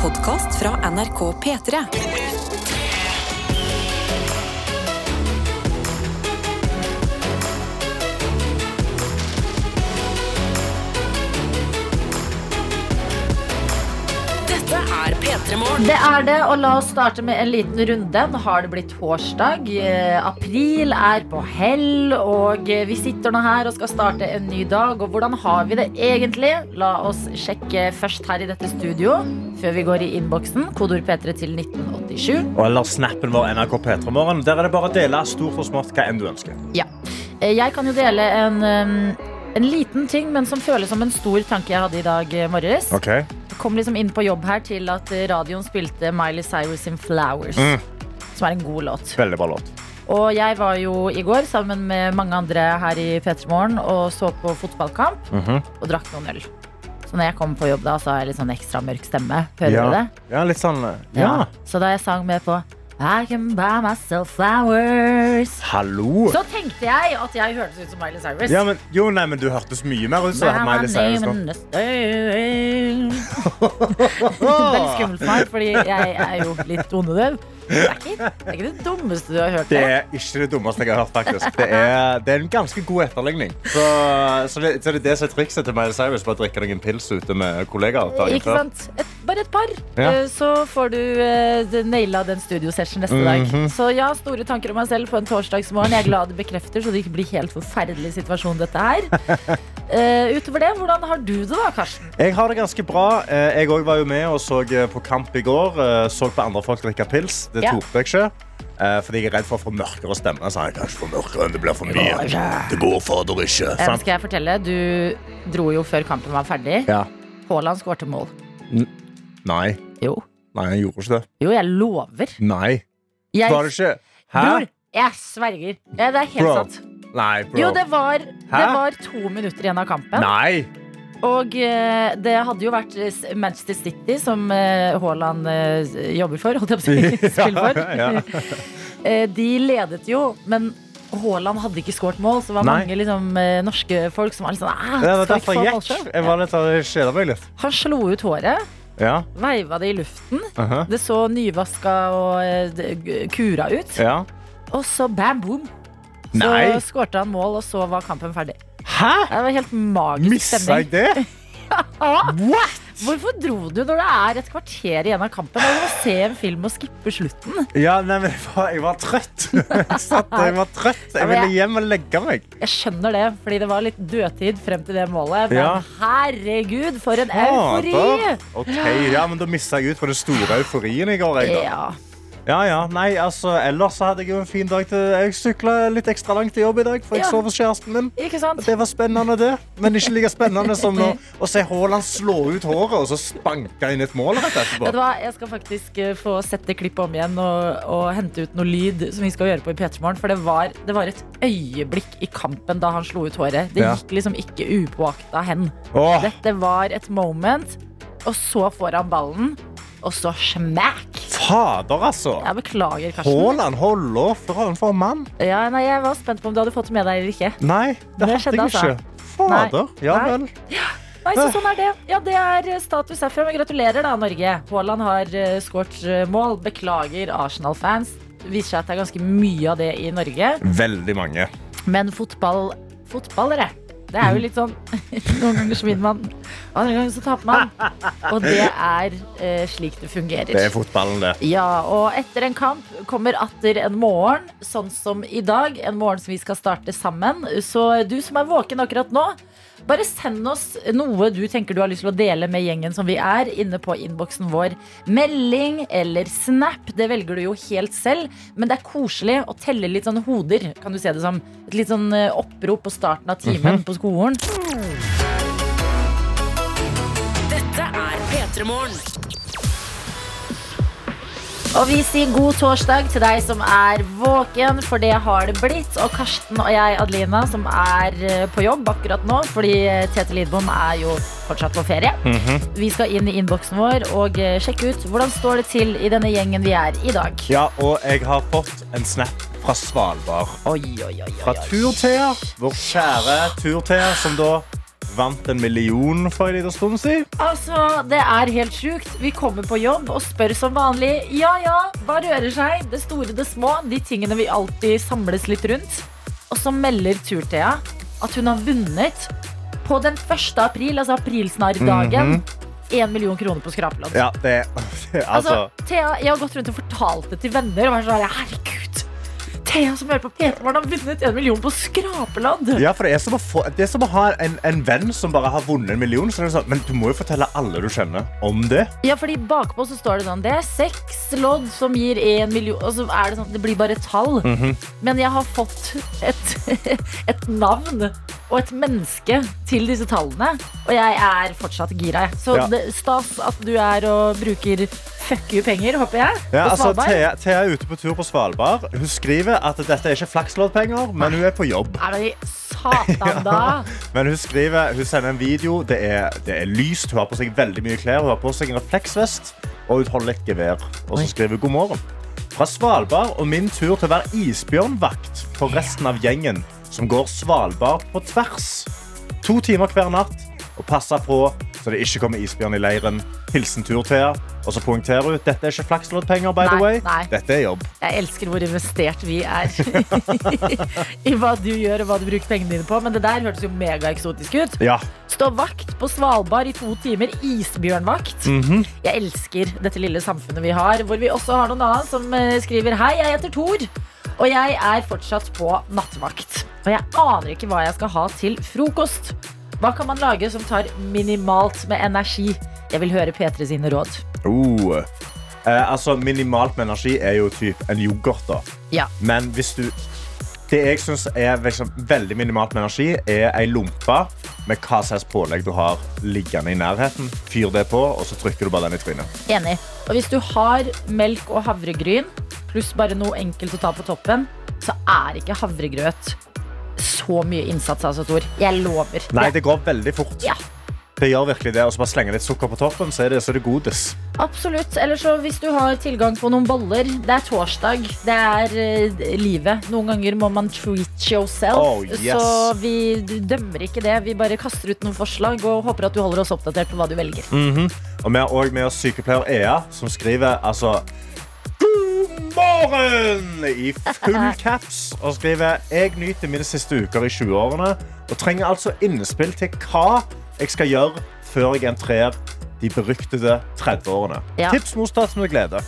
podkast fra NRK P3. Dette er P3 Morgen. Det er det, og la oss starte med en liten runde. Nå har det blitt torsdag. eh, April er på hell, og eh, vi sitter nå her og skal starte en ny dag. Og hvordan har vi det egentlig? La oss sjekke først her i dette studio, før vi går i innboksen. Kodord P3 til 1987. Og eller snappen vår NRK P3morgen. Der er det bare å dele stort og smått hva enn du ønsker. Eh, Jeg kan jo dele en, eh, en liten ting, men som føles som en stor tanke jeg hadde i dag eh, morges. Ok. Kom liksom inn på jobb her til at eh, radioen spilte Miley Cyrus sin Flowers, Mm. som er en god låt. Veldig bra låt. Og jeg var jo i går sammen med mange andre her i P3 Morgen og så på fotballkamp Mhm. og drakk noen øl. Så når jeg kom på jobb da, så har jeg litt sånn ekstra mørk stemme. Hører ja. du det? Ja, litt sånn Ja. Så da jeg sang med på I can buy myself flowers Hallo. Så tenkte jeg at jeg hørtes ut som Miley Cyrus. Ja, men, jo, nei, men du hørtes mye mer ut som Now Miley I'm Cyrus. nå. in the stale. Veldig skummelt for meg, fordi jeg er jo litt tonedøv. Det er ikke det, er ikke det dummeste du har hørt. Det er ikke det dummeste jeg har hørt. faktisk Det er, det er en ganske god etterligning. Så, så, det, så det er det som er trikset til Miley Cyrus. Bare drikke deg en pils ute med kollegaer. dagen Ikke før. sant? Et, bare et par, Ja. eh, så får du eh, det- naila den studiosession neste Mhm. dag. Så ja, store tanker om meg selv på en torsdagsmorgen. Jeg er glad det bekrefter, så det ikke blir helt forferdelig situasjon, dette her. Eh, utover det, hvordan har du det da, Karsten? Jeg har det ganske bra. Eh, Jeg òg var jo med og så eh, på kamp i går. Eh, Så på andre folk drikke pils. Det Ja. torde jeg ikke. Eh, Fordi jeg er redd for å få mørkere stemme. Så jeg kan ikke få mørkere enn det blir for går mye. Det går fader ikke. Eh, Sant? skal jeg fortelle? Du dro jo før kampen var ferdig. Ja. Haaland skårte mål. Nei. Jo. Nei, jeg gjorde ikke det. Jo, jeg lover. Nei. Jeg, Var det ikke Hæ? Bror, jeg sverger. Ja, det er helt Bro. sant. Nei, bro. Jo, det var, det Hæ? var to minutter igjen av kampen. Nei. Og eh, det hadde jo vært eh, Manchester City som eh, Haaland eh, jobber for, holdt jeg på å si. Spiller for. Ja, Eh, De ledet jo, men Haaland hadde ikke skåret mål, så det var Nei. mange liksom, eh, norske folk som var litt sånn "Ah, Det var skal vi derfor ikke få jeg målsjanse?" Jeg var litt kjeda meg litt. Han slo ut håret, Ja. Uh-huh. veiva det i luften. aha. Det så nyvaska og eh, d- kura ut. ja. Og så bam, boom. Så Nei. skårte han mål, og så var kampen ferdig. Hæ? Det var helt magisk Missa stemning. jeg det? Ah! What? Hvorfor dro du når det er et kvarter igjen av kampen? Og må se en film og skippe slutten. Ja, nei, men jeg var, jeg var trøtt. Jeg satt der, jeg var trøtt. Jeg ville hjem og legge meg. Jeg skjønner det, fordi det var litt dødtid frem til det målet. Men Ja. herregud, for en Fader. eufori! Ok, ja, men Da missa jeg ut på den store euforien i går. Jeg, da. Ja. ja, ja, nei, altså, ellers så hadde jeg jo en fin dag til Jeg sykla litt ekstra langt til jobb i dag, for jeg Ja. sov hos kjæresten min. Ikke sant? Det var spennende, det. Men ikke like spennende som nå, å se Haaland slå ut håret og så spanke inn et mål rett etterpå. Vet du hva, Jeg skal faktisk eh, få sette klippet om igjen og, og hente ut noe lyd. som vi skal gjøre på i Petermorgen, For det var, det var et øyeblikk i kampen da han slo ut håret. Det Ja. gikk liksom ikke upåakta hen. Åh, Dette var et moment, og så får han ballen, og så smack! fader, altså. Jeg beklager, Karsten. Haaland hold opp. For en for en mann. Ja, nei, jeg var spent på om du hadde fått det med deg eller ikke. Nei, det Det hadde skjedde, jeg altså. ikke. Fader. Ja Nei. vel. Nei, så sånn er det. Ja, det er eh, status herfra. Men gratulerer, da, Norge. Haaland har uh, skåret eh, mål. Beklager, Arsenal-fans. Det viser seg at det er ganske mye av det i Norge. Veldig mange. Men fotball Fotballere. Det er jo litt sånn Noen ganger så vinner man, andre ganger så taper man. Og det er eh, slik det fungerer. Det er fotballen, det. Ja, og etter en kamp kommer atter en morgen, sånn som i dag. En morgen som vi skal starte sammen. Så du som er våken akkurat nå, bare send oss noe du tenker du har lyst til å dele med gjengen som vi er, inne på innboksen vår. Melding eller snap, det velger du jo helt selv. Men det er koselig å telle litt sånn hoder, kan du se det som. Et litt sånn eh, opprop på starten av timen på skolen. Dette er P3 Morgen. Og vi sier god torsdag til deg som er våken, for det har det blitt. Og Karsten og jeg, Adelina, som er eh, på jobb akkurat nå, fordi eh, Tete Lidbom er jo fortsatt på ferie. Vi skal inn i innboksen vår og eh, sjekke ut hvordan står det til i denne gjengen vi er i dag. Ja, og jeg har fått en snap fra Svalbard. Oi, oi, oi, oi, Fra oi. Turthea, vår kjære Turthea, som da vant en million for en liten stund siden. Altså, Det er helt sjukt. Vi kommer på jobb og spør som vanlig. Ja ja, hva rører seg? Det store, det små. De tingene vi alltid samles litt rundt. Og så melder Tur-Thea at hun har vunnet på den 1. april, altså aprilsnarrdagen, én million kroner på skrapelodd. Mhm. Ja, det Altså, Altså Thea, jeg har gått rundt og fortalt det til venner. Og vært sånn, her, herregud, Thea som hører på P3 Morgen, har vunnet en million på skrapelodd! ja, for det er som å, få, det er som å ha en, en venn som bare har vunnet en million. Så er det sånn, men du må jo fortelle alle du kjenner om det. Ja, fordi bakpå så står det sånn Det er seks lodd som gir en million Og så er det sånn, det blir bare tall Mhm. Men jeg har fått et, et navn Og et menneske til disse tallene Og jeg er fortsatt gira jeg. Så Ja. det, stas at du er og bruker Fuck you penger, håper jeg Ja, på altså, Svalbard. Thea, Thea er ute på tur på Svalbard. Hun skriver at dette er ikke flaksloddpenger, men hun er på jobb. Er det satan da? Men hun skriver, hun sender en video. Det er, det er lyst. Hun har på seg veldig mye klær. Hun har på seg en refleksvest og hun holder et gevær. Og så skriver hun god morgen. Fra Svalbard og min tur til å være isbjørnvakt for resten av gjengen som går Svalbard på tvers. To timer hver natt og passer på så det ikke kommer isbjørn i leiren. Hilsen tur-Thea. Og så poengterer hun dette er ikke flaksloddpenger, by Nei, the way. nei. Dette er jobb. Jeg elsker hvor investert vi er I hva du gjør og hva du bruker pengene dine på Men det der hørtes jo mega eksotisk ut Ja, Stå vakt på Svalbard i to timer. Isbjørnvakt. Jeg elsker dette lille samfunnet vi har, hvor vi også har noen annen som eh, skriver Hei, jeg heter Tor, og jeg er fortsatt på nattevakt. Og jeg aner ikke hva jeg skal ha til frokost. Hva kan man lage som tar minimalt med energi? Jeg vil høre P3 sine råd. Oh. Eh, altså, minimalt med energi er jo typ en yoghurt, da. Ja. Men hvis du Det jeg syns er liksom, veldig minimalt med energi, er ei lompe med hva slags pålegg du har liggende i nærheten. Fyr det på, og så trykker du bare den i trynet. Enig. Og hvis du har melk og havregryn, pluss bare noe enkelt å ta på toppen, så er ikke havregrøt så mye innsats, altså, Tor. Jeg lover. Nei, det går veldig fort. Ja, Det gjør virkelig det, og så bare slenge litt sukker på toppen, så er det, så er det godis. absolutt. Eller så hvis du har tilgang på noen boller. Det er torsdag. Det er eh, livet. Noen ganger må man treat yourself. Oh, yes. Så vi dømmer ikke det. Vi bare kaster ut noen forslag og håper at du holder oss oppdatert på hva du velger. Mm. Og vi har òg med oss sykepleier Ea, som skriver altså God morgen! I full caps. Og skriver jeg nyter mine siste uker i 20-årene og trenger altså innspill til hva jeg skal gjøre før jeg entrer de beryktede 30-årene. Ja. Tips mottatt med glede.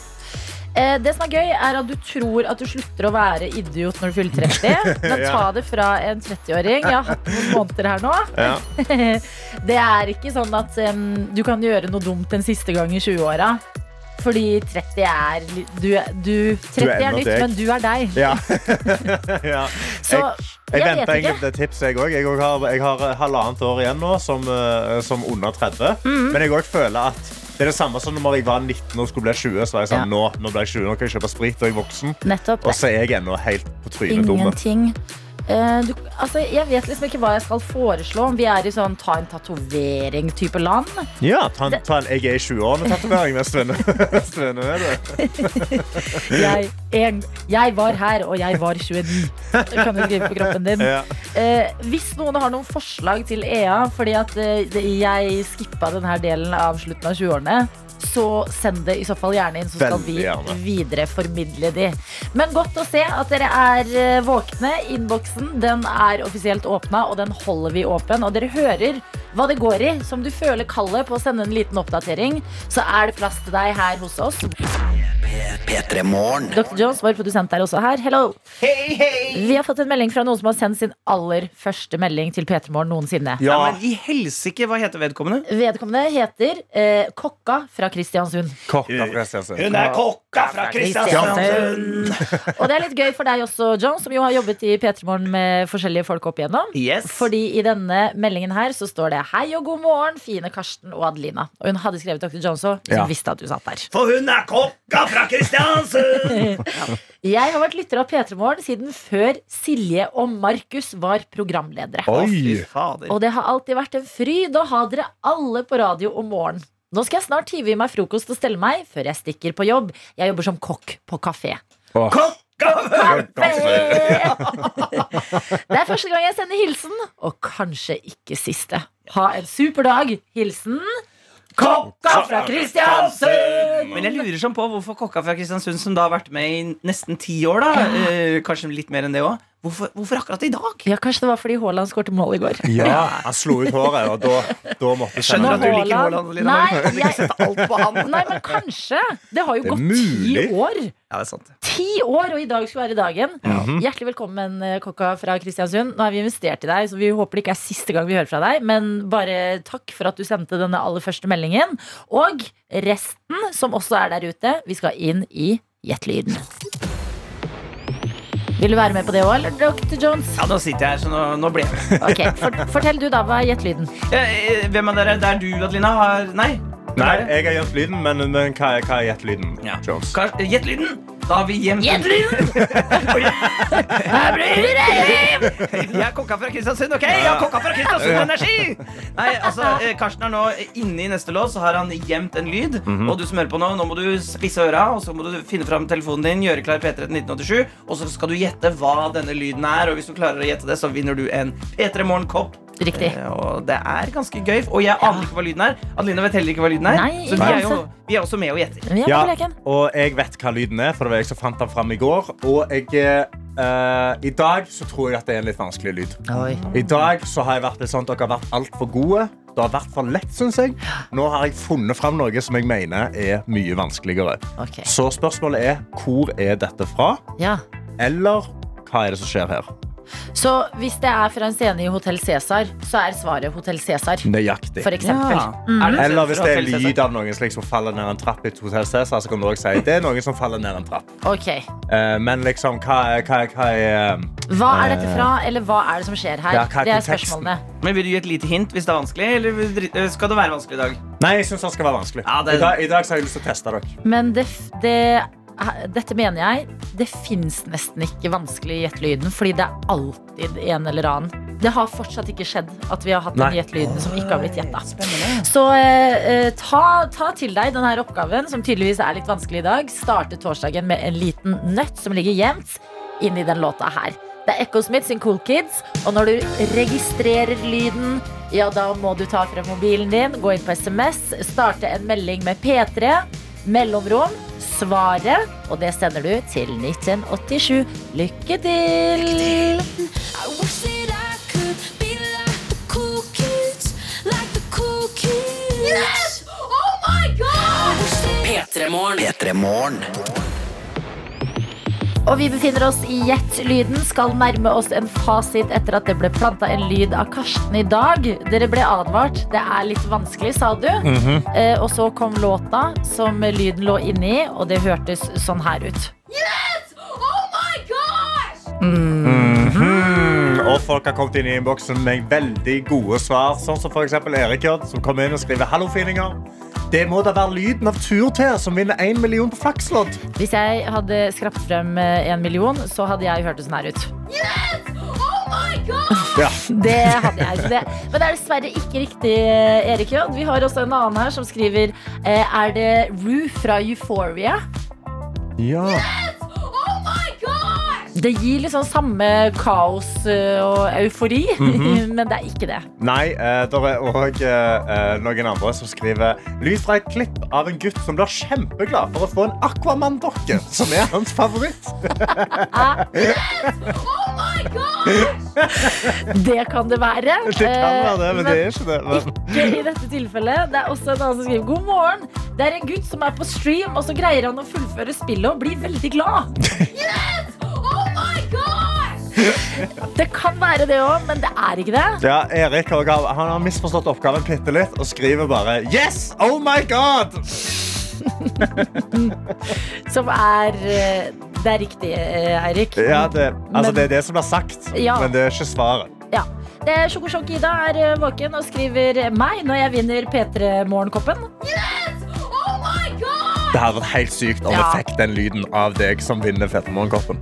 Eh, Det som er gøy, er at du tror at du slutter å være idiot når du fyller 30. Men ta det fra en 30-åring. Jeg har hatt noen måneder her nå. Ja. Det er ikke sånn at em, du kan gjøre noe dumt en siste gang i 20-åra. Fordi 30 er li- du, du, 30 ennå er nytt, deg. men du er deg. Ja. ja. Så Jeg jeg venter vet ikke. egentlig et tips, jeg òg. Jeg, også har- jeg har eh, halvannet år igjen nå som, eh, som under 30. Men jeg også føler at det er det samme som når jeg var 19 og skulle bli 20. Så var jeg sånn, Ja. nå, nå ble jeg 20, nå kan jeg kjøpe sprit, og jeg er voksen. Nettopp. Og så er jeg ennå helt på trynet dumme. Ingenting. Eh, du, altså, jeg vet liksom ikke hva jeg skal foreslå. Om vi er i sånn ta en tatovering-type land. Ja, ta en, ta en jeg er i 20-årene-tatovering med Svenne. Svenne er det. Jeg, en, jeg var her, og jeg var 29. Det kan du skrive på kroppen din. Ja. Eh, hvis noen har noen forslag til EA, fordi at eh, det- jeg skippa denne delen av slutten av 20-årene, så send det i så fall gjerne inn, så skal Veldig vi gjerne. videreformidle de. Men godt å se at dere er eh, våkne. Innboksen den er offisielt åpna, og den holder vi åpen. Og dere hører hva det går i. Som du føler kallet på å sende en liten oppdatering, så er det plass til deg her hos oss. Dr. Jones, vår produsent, er også her. Hello! Vi har fått en melding fra noen som har sendt sin aller første melding til P3 Morgen noensinne. Ja. Nei, men i helsike, hva heter vedkommende? Vedkommende heter eh, Kokka fra Kristiansund. Kokka fra Kristiansand. Hun er kokka fra Kristiansund! Og det er litt gøy for deg også, Jones, som jo har jobbet i P3 Morgen med forskjellige folk opp igjennom. Yes. Fordi i denne meldingen her så står det 'Hei og god morgen, fine Karsten og Adelina'. Og hun hadde skrevet Dr. Jones òg, så Ja. hun visste at du satt der. For hun er kokka fra Kristiansund! Jeg har vært lytter av P3 Morgen siden før Silje og Markus var programledere. Å, fy Oi! fader. Og det har alltid vært en fryd å ha dere alle på radio om morgenen. Nå skal jeg snart hive i meg frokost og stelle meg før jeg stikker på jobb. Jeg jobber som kokk på kafé. Kokka Det er første gang jeg sender hilsen, og kanskje ikke siste. Ha en super dag. Hilsen Kokka fra Kristiansund! Men jeg lurer sånn på hvorfor kokka fra Kristiansund, som da har vært med i nesten ti år, da, eh, kanskje litt mer enn det òg, hvorfor, hvorfor akkurat i dag? Ja, Kanskje det var fordi Haaland skåret mål i går. Ja, han slo ut håret, og da, da måtte jeg sende Skjønner at du det. liker Haaland- Haaland, Lina. Nei, Kan ikke jeg- sette alt på han. Nei, men kanskje. Det har jo Det er gått mulig. ti år. Ja, det er sant. Ti år, og i dag skulle være dagen. Hjertelig velkommen, eh, kokka fra Kristiansund. Nå har vi investert i deg, så vi håper det ikke er siste gang vi hører fra deg. Men bare takk for at du sendte denne aller første meldingen. Og resten, som også er der ute, vi skal inn i Gjettlyden. Vil du være med på det òg, eller dr. Jones? Ja, nå sitter jeg her, så nå, nå ble jeg med. Ok, for, Fortell du, da. Hva er Gjettlyden? Eh, eh, Hvem av dere? Det er du, Adelina? Har Nei? Nei, jeg har gjemt lyden, men, men hva er, hva er gjettelyden? Ja. Jones? Kar- eh, Gjett lyden! Da har vi gjemt Her blir det rev! Jeg er kokka fra Kristiansund, ok? Jeg er kokka fra Kristiansund Energi! Nei, altså, eh, Karsten er nå eh, inne i neste lås, så har han gjemt en lyd. Og du som hører på nå, nå må du spisse øra, og så må du finne fram telefonen din, gjøre klar P3 til 1987, og så skal du gjette hva denne lyden er, og hvis du klarer å gjette det, så vinner du en P3 Morgen-kopp. Riktig. Eh, Og det er ganske gøy, og jeg aner ikke hva lyden er. Adeline vet heller ikke hva lyden er, Nei, så ikke vi er, jo, altså. vi er også med og gjetter. Vi er med Ja, på leken. og jeg vet hva lyden er, for det var jeg som fant den fram i går. Og jeg, eh, i dag så tror jeg at det er en litt vanskelig lyd. Oi. I dag så har jeg vært litt sånn at dere har vært altfor gode. Det har vært for lett, synes jeg. Nå har jeg funnet fram noe som jeg mener er mye vanskeligere. Ok. Så spørsmålet er hvor er dette fra? Ja. Eller hva er det som skjer her? Så hvis det er fra en scene i Hotell Cæsar, så er svaret Hotell Cæsar. Nøyaktig. For eksempel. Er det en Eller hvis det er Hotell Cæsar? lyd av noen slik som faller ned en trapp, i et hotell Cæsar, så kan du også si det er noen som faller ned en trapp. Ok. Eh, men liksom, hva er, hva er, hva er eh, Hva er dette fra, eller hva er det som skjer her? Ja, hva er det er konteksten? spørsmålene. Men Vil du gi et lite hint hvis det er vanskelig, eller vil dri- eh, skal det være vanskelig i dag? Nei, jeg syns den skal være vanskelig. Ja, det- I, dag, I dag så har jeg lyst til å teste dere. Men det, f- det, dette mener jeg. Det fins nesten ikke vanskelig i gjettelyden, fordi det er alltid en eller annen. Det har fortsatt ikke skjedd at vi har hatt en Nei. gjettelyden som ikke har blitt gjetta. Så eh, eh, ta, ta til deg denne her oppgaven, som tydeligvis er litt vanskelig i dag. Starte torsdagen med en liten nøtt som ligger gjemt inni den låta her. Det er Echo Smith sin Cool Kids, og når du registrerer lyden, ja, da må du ta frem mobilen din, gå inn på SMS, starte en melding med P3, mellomrom, svaret, og det sender du til 1987. Lykke til! I wish that I could be like the cool kids, like the cool kids. Yes! Oh my god! I wish that P3morgen. Og vi befinner oss i Gjett-lyden. Skal nærme oss en fasit etter at det ble planta en lyd av Karsten i dag. Dere ble advart. Det er litt vanskelig, sa du. eh, og så kom låta som lyden lå inni, og det hørtes sånn her ut. Oh my gosh! Og folk har kommet inn i innboksen med veldig gode svar. Sånn som for eksempel Erik Jørn, som kommer inn og skriver «Hallo, fininger!» Det må da være lyden av turte som vinner 1 million på flakslodd. Hvis jeg hadde skrapt frem eh, en million, så hadde jeg hørt det sånn her ut. Oh my god! Ja. Det hadde jeg. Så det. Men det er dessverre ikke riktig, eh, Erik J. Vi har også en annen her som skriver eh, Er det Rue fra Euphoria? Oh my gosh! Det gir liksom samme kaos ø, og eufori, Mhm. men det er ikke det. Nei, eh, der er også eh, eh, noen andre som skriver «Lyd fra et klipp av en gutt som blir kjempeglad for å få en Aquaman-dokke, som er hans favoritt. Oh my gosh! Det kan det være. Eh, Det kan være det, men det er ikke det. Eh, Men... ikke i dette tilfellet. Det er også en annen som skriver God morgen. Det er en gutt som er på stream, og så greier han å fullføre spillet og blir veldig glad. Oh my gosh! Det kan være det òg, men det er ikke det. Ja, Erik har- han har misforstått oppgaven pittelitt og skriver bare «Yes! Oh my God!» Som er ø, Det er riktig, ø, Eirik. Ja, det, altså, Men- det er det som blir sagt, Ja. men det er ikke svaret. Ja. Det er Sjokosjokk Ida er ø, våken og skriver meg når jeg vinner P3 Morgenkoppen. Oh my god! Det hadde vært helt sykt om vi Ja. fikk den lyden av deg som vinner Fettermorgenkoppen.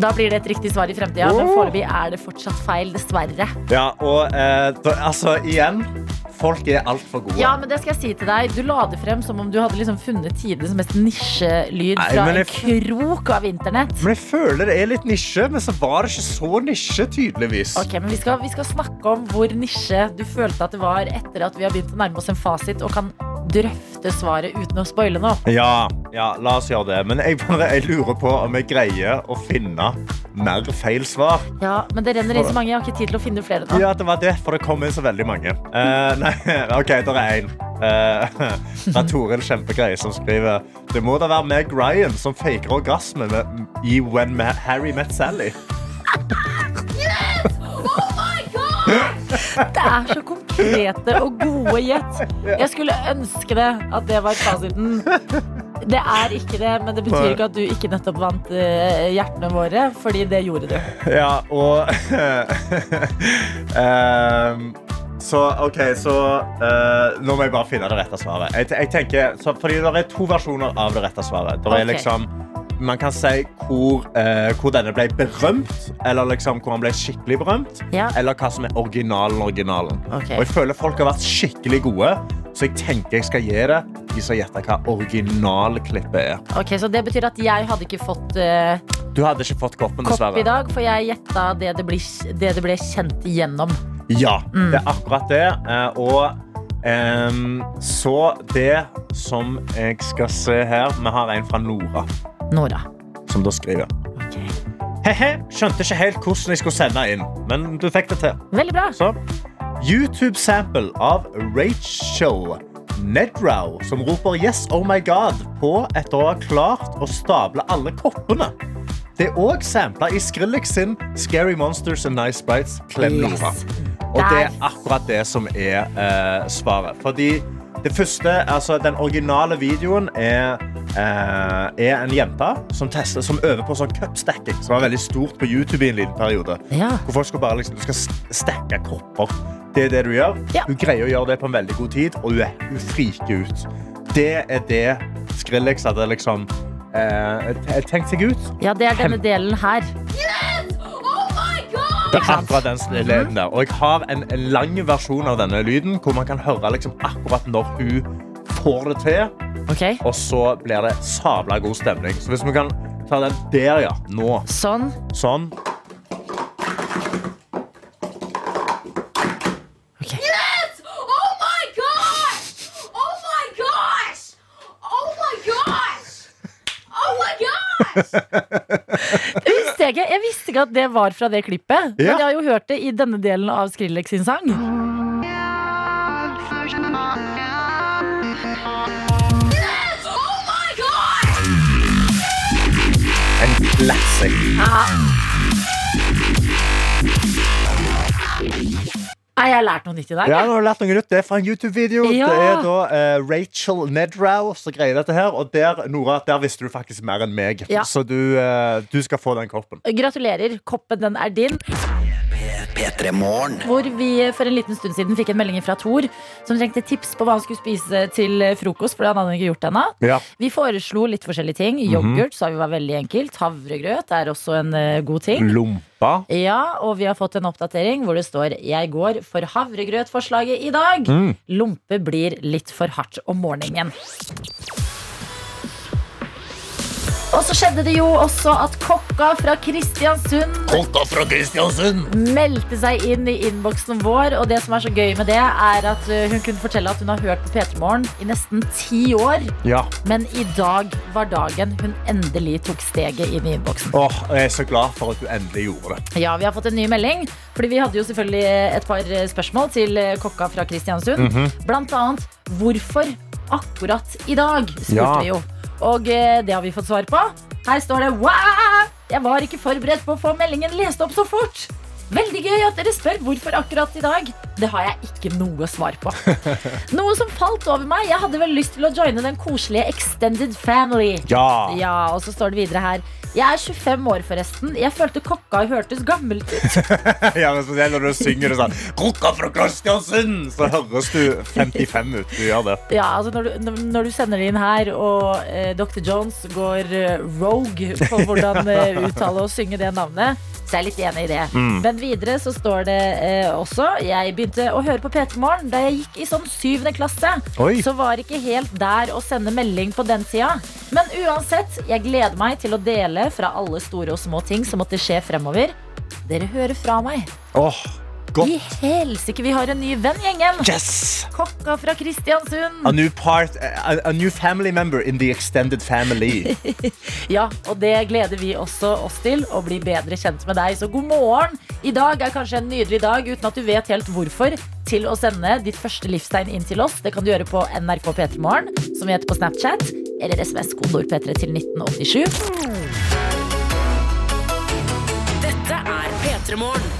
Da blir det et riktig svar i fremtida, men foreløpig er det fortsatt feil, dessverre. Ja, og eh, da, altså, igjen Folk er altfor gode. Ja, men det skal jeg si til deg. Du la det frem som om du hadde liksom funnet tidenes mest nisjelyd Nei, fra men en jeg- krok av internett. Men jeg føler det er litt nisje, men så var det ikke så nisje, tydeligvis. Ok, men vi skal, vi skal snakke om hvor nisje du følte at det var etter at vi har begynt å nærme oss en fasit og kan drøfte svaret uten å spoile noe. Ja, ja, la oss gjøre det. Men jeg, bare, jeg lurer på om jeg greier å finne mer feil svar. Ja, men det renner inn så mange. Jeg har ikke tid til å finne flere nå. Ja, det var det, for det kom inn så veldig mange. Eh, nei, OK, der er én. det er Toril Kjempegreie som skriver Det må da være Meg Ryan som faker orgasme med, i When Ma Harry Met Sally. Det er så konkrete og gode gjett. Jeg skulle ønske det at det var fasiten. Det er ikke det, men det betyr ikke at du ikke nettopp vant eh, hjertene våre, fordi det gjorde du. Ja, og Ehm, Så OK, så eh, Nå må jeg bare finne det rette svaret. Jeg, jeg tenker, så, fordi Det er to versjoner av det rette svaret. Det er Ok. liksom man kan si hvor, eh, hvor denne ble berømt, eller liksom hvor han ble skikkelig berømt. Ja. Eller hva som er originalen. originalen. Ok. Og jeg føler folk har vært skikkelig gode, så jeg tenker jeg skal gi det de som gjetter hva originalklippet er. Ok, Så det betyr at jeg hadde ikke fått eh, Du hadde ikke fått koppen, kopp i dessverre. dag, for jeg gjetta det det, blir, det det ble kjent igjennom. Ja, det er akkurat det. Eh, Og ehm, så det som jeg skal se her Vi har en fra Nora Nora. som da skriver. Ok. He-he, skjønte ikke helt hvordan jeg skulle sende inn, men du fikk det til. Veldig bra. Så YouTube-sample av Rachel Nedrow som roper 'Yes, oh my God' på etter å ha klart å stable alle koppene. Det er òg sampla i Skrillex sin 'Scary Monsters and Nice Sprites'. Klem Yes. Nora. Og det er Der. akkurat det som er eh, svaret. Fordi det første, altså den originale videoen er, eh, er en jente som, tester, som øver på sånn cupstacking, som var veldig stort på YouTube i en liten periode. Ja. Hvor folk skal bare liksom, du skal st- stacke kropper. Det er det du gjør. Ja. Du greier å gjøre det på en veldig god tid, og du, er, du friker ut. Det er det Skrillex hadde liksom eh, t- tenkt seg ut. ja, det er denne delen her. Oh Det er akkurat den lyden der. Og jeg har en lang versjon av denne lyden hvor man kan høre liksom akkurat når hun får det til, Ok, og så blir det sabla god stemning. Så hvis vi kan ta den der, ja. Nå. Sånn. Sånn. Oh Ok. Oh Visste jeg, ikke. jeg visste ikke at det var fra det klippet. Men Ja. jeg har jo hørt det i denne delen av Skrillex sin sang. En classic. Nei, jeg har lært noe nytt i dag. Ja, nå har du lært noe nytt. Det er fra en YouTube-video. Ja. Det er da eh, Rachel Nedrow som greier dette her. Og der, Nora, der visste du faktisk mer enn meg. Ja. Så du, eh, du skal få den koppen. Gratulerer. Koppen, den er din. Hvor vi for en liten stund siden fikk en melding fra Thor som trengte tips på hva han skulle spise til frokost, for det hadde han ikke gjort ennå. Ja. Vi foreslo litt forskjellige ting. Yoghurt sa vi var veldig enkelt. Havregrøt er også en eh, god ting. Lompa. Ja, og vi har fått en oppdatering hvor det står 'Jeg går for havregrøtforslaget i dag'. Lompe blir litt for hardt om morgenen. Og så skjedde det jo også at kokka fra Kristiansund fra Kristiansund. meldte seg inn i innboksen vår. Og det som er så gøy med det, er at eh, hun kunne fortelle at hun har hørt på P3 Morgen i nesten ti år. Ja. Men i dag var dagen hun endelig tok steget inn i innboksen. Åh, jeg er så glad for at du endelig gjorde det. Ja, vi har fått en ny melding. Fordi vi hadde jo selvfølgelig eh, et par spørsmål til eh, kokka fra Kristiansund. Blant annet hvorfor akkurat i dag, spurte Ja. vi jo. Og eh, det har vi fått svar på. Her står det Wow! Jeg var ikke forberedt på å få meldingen lest opp så fort. Veldig gøy at dere spør hvorfor akkurat i dag. Det har jeg ikke noe svar på. Noe som falt over meg. Jeg hadde vel lyst til å joine den koselige Extended Family. Ja. Ja, og så står det videre her Jeg er 25 år, forresten. Jeg følte kokka hørtes gammelt ut. Ja, men spesielt når du synger det sånn Krukka fra Kristiansund! Så høres du 55 ut. Du gjør det. Ja, altså når, du, når- når du sender det inn her, og eh, Dr. Jones går eh, rogue på hvordan eh, uttale og synge det navnet, så jeg er litt enig i det. Men videre så står det eh, også Jeg begynte å høre på P3 Morgen da jeg gikk i sånn syvende klasse. Oi. Så var ikke helt der å sende melding på den tida. Men uansett, jeg gleder meg til å dele fra alle store og små ting som måtte skje fremover. Dere hører fra meg. Åh, I godt. helsike, vi har en ny venn, gjengen. Yes! Kokka fra Kristiansund. A new part a, a new family member in the extended family. Ja, og det gleder vi også oss til, å bli bedre kjent med deg. Så god morgen! I dag er kanskje en nydelig dag uten at du vet helt hvorfor. Til å sende ditt første livstegn inn til oss. Det kan du gjøre på NRK P3 Morgen, som vi heter på Snapchat, eller SMS kodeord P3 til 1987. Dette er P3 Morgen.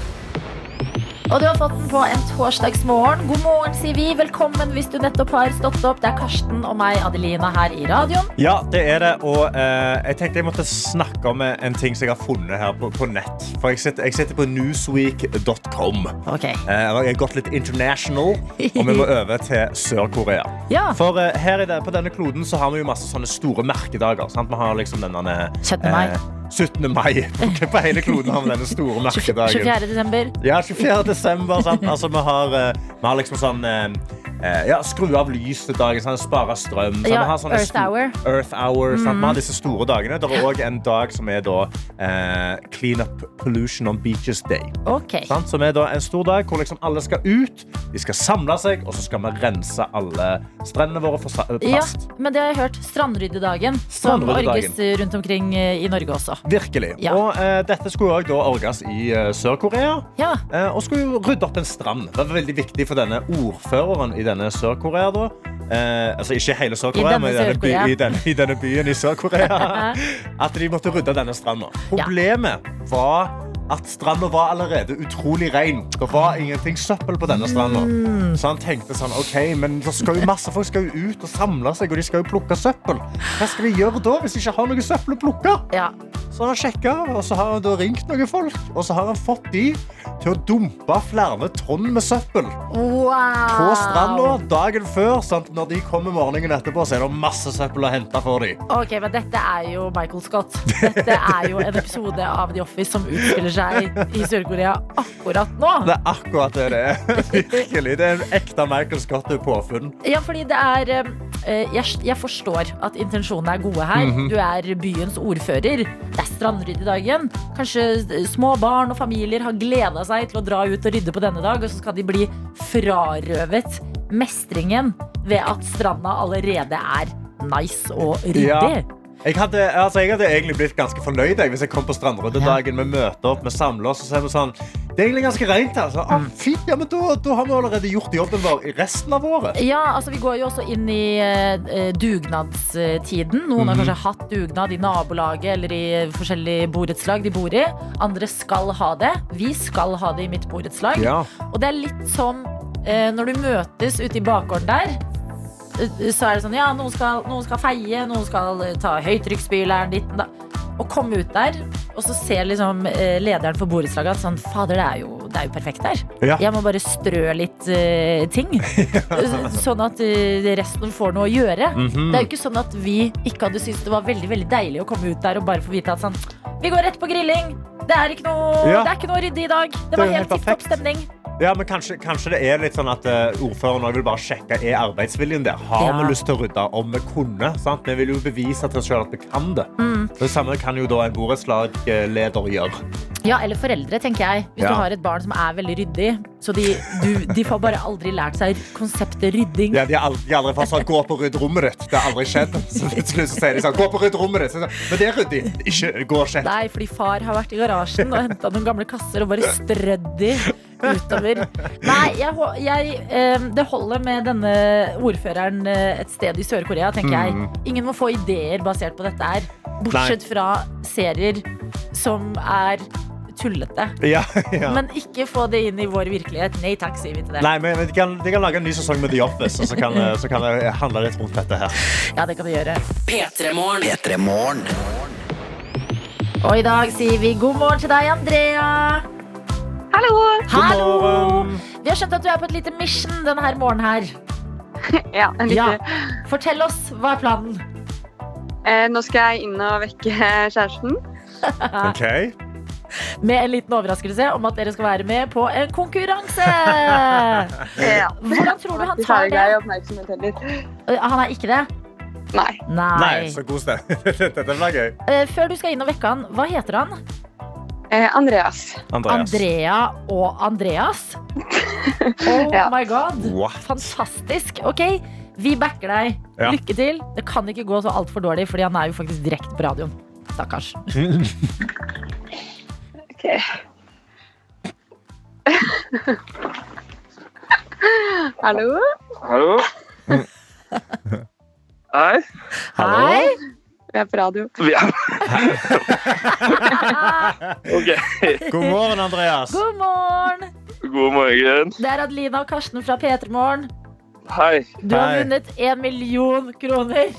Og du har fått den på en torsdagsmorgen. God morgen, sier vi. Velkommen hvis du nettopp har stått opp. Det er Karsten og meg, Adelina, her i radioen. ja, det er det. Og eh, jeg tenkte jeg måtte snakke om en ting som jeg har funnet her på, på nett. For jeg sitter, jeg sitter på newsweek.com. Ok. Eh, og jeg har gått litt international, og vi må over til Sør-Korea. Ja. For eh, her i det, på denne kloden så har vi jo masse sånne store merkedager. Sant? Vi har liksom denne eh, 17. mai. 17. mai. På, på hele kloden har vi denne store merkedagen. 24. desember. Ja, 24. desember. Sant? Altså, vi, har, eh, vi har liksom sånn eh, eh, ja, Skru av lyset dagen, sånn, spare strøm. sant? Ja, Vi har sånne Earth sto- Hour. Mm. Earth Hour sant? Vi har disse store dagene. Det er òg en dag som er da eh, Clean Up Pollution on Beaches Day. Ok. Sant? Som er da en stor dag hvor liksom alle skal ut, de skal samle seg, og så skal vi rense alle strendene våre for sa- Ja, plast. men det har jeg hørt. Strandryddedagen. Som Strandryddedagen. orges rundt omkring eh, i Norge også. Virkelig. Ja. Og eh, dette skulle også da orges i eh, Sør-Korea. Ja. Eh, og skulle jo rydde opp en strand. Det var veldig viktig for denne ordføreren i denne Sør-Korea. da. Eh, altså ikke hele I Sør-Korea, denne men i denne, by, Sør-Korea. i, denne, i denne byen i Sør-Korea. At de måtte rydde denne stranda. Problemet var at stranda var allerede utrolig ren. Det var ingenting søppel på denne stranda. Mm. Så han tenkte sånn OK, men det skal jo masse folk skal jo ut og samle seg, og de skal jo plukke søppel. Hva skal de gjøre da, hvis de ikke har noe søppel å plukke? Ja. Så har han sjekka, og så har han da ringt noen folk. Og så har han fått de til å dumpe flere tonn med søppel Wow. på stranda dagen før. Sant? Når de kommer morgenen etterpå, så er det masse søppel å hente for dem. Ok, men dette er jo Michael Scott. Dette er jo en episode av The Office som utspiller seg i Sør-Korea akkurat nå. Det er akkurat det det er. Virkelig. Det er en ekte Michael Scott-påfunn. Ja, fordi det er eh, jeg, jeg forstår at intensjonene er gode her. Du er byens ordfører. Det er strandryddedagen. Kanskje eh, små barn og familier har gleda seg til å dra ut og rydde på denne dag, og så skal de bli frarøvet mestringen ved at stranda allerede er nice og ryddig. Jeg hadde, altså, jeg hadde egentlig blitt ganske fornøyd jeg, hvis jeg kom på strandryddedagen. Vi møter opp, vi samler oss og så er vi sånn Det er egentlig ganske rent her. Så, ah, Mm. fint, ja, men da, da har vi allerede gjort jobben vår i resten av året. Ja, altså Vi går jo også inn i eh, dugnadstiden. Noen har kanskje hatt dugnad i nabolaget eller i forskjellige borettslag de bor i. Andre skal ha det. Vi skal ha det i mitt borettslag. Og det er litt som eh, når du møtes ute i bakgården der. eh, Så er det sånn ja, noen skal, noen skal feie, noen skal eh, ta høytrykksspyleren dit. Da. Og komme ut der, og så ser liksom eh, lederen for borettslaget at sånn fader, det er jo, det er jo perfekt der. Ja. Jeg må bare strø litt eh, ting. sånn at eh, resten får noe å gjøre. Mhm. Det er Mm. jo ikke sånn at vi ikke hadde syntes det var veldig veldig deilig å komme ut der og bare få vite at sånn Vi går rett på grilling! Det er ikke noe, Ja. det er ikke noe ryddig i dag. Det er var jo helt helt tipp topp perfekt. stemning. Ja, men kanskje, kanskje det er litt sånn at eh, ordføreren også vil bare sjekke er arbeidsviljen der. Har Ja. vi lyst til å rydde om vi kunne? Sant? Vi vil jo bevise til oss selv at vi kan det. Mm. Det samme kan jo da en borettslagleder gjøre. Ja, eller foreldre, tenker jeg. Hvis Ja. du har et barn som er veldig ryddig, så de, du, de får bare aldri lært seg konseptet rydding. Ja, de har aldri, de har aldri fått sånn 'gå opp og rydd rommet ditt'. Det har aldri skjedd. Så plutselig så sier de sånn 'gå opp og rydd rommet ditt'. Så, sånn, men det er ryddig. Ikke gå og sjekk. Nei, fordi far har vært i garasjen og henta noen gamle kasser og bare strødd de utover. Nei, jeg, hå- jeg, eh, det holder med denne ordføreren eh, et sted i Sør-Korea, tenker Mm. jeg. Ingen må få ideer basert på dette her. Bortsett fra serier som er tullete. Ja, ja. Men ikke få det inn i vår virkelighet. Nei takk, sier vi til det. Nei, men de kan, de kan lage en ny sesong med The Office, og så kan, eh, så kan det handle litt rundt dette her. Ja, det kan du gjøre. P3 Morgen. Og i dag sier vi god morgen til deg, Andrea. Hallo! Hallo! morgen. Vi har skjønt at du er på et lite mission denne her morgenen her. Ja, en liten- Ja. Fortell oss, hva er planen? Eh, nå skal jeg inn og vekke kjæresten. Ok. Med en liten overraskelse om at dere skal være med på en konkurranse. Ja. Hvordan Eh, tror du han Ikke tar særlig glad det? Eh, i oppmerksomhet heller. Han er ikke det? Nei. Nei, Nei. så kos deg. Dette blir gøy. Eh, Før du skal inn og vekke han, hva heter han? Eh, Andreas. Andrea og Andreas? Oh Ja. my god. What? Fantastisk. Ok, vi backer deg. Ja. Lykke til. Det kan ikke gå så altfor dårlig, fordi han er jo faktisk direkte på radioen. Stakkars. Ok. Hallo? Hallo? Hei? Hei. Vi er på radio. Vi er OK. God morgen, Andreas. God morgen! God morgen. Det er Adelina og Karsten fra P3 Morgen. Hei. Du har Hei. vunnet én million kroner.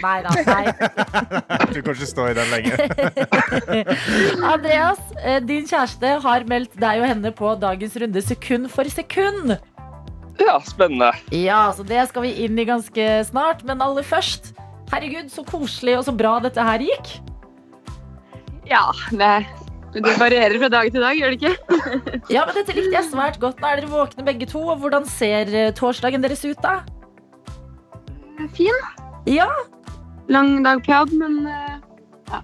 Nei. nei, da, nei. Du kan ikke stå i den lenge. Andreas, eh, din kjæreste har meldt deg og henne på dagens runde sekund for sekund. Ja, spennende. Ja, så det skal vi inn i ganske snart. Men aller først, herregud, så koselig og så bra dette her gikk. Ja, det, det varierer fra dag til dag, gjør det ikke? Ja, men dette likte jeg svært godt. Nå er dere våkne begge to. Og hvordan ser eh, torsdagen deres ut, da? Fin. Ja. Lang dag på jobb, men eh,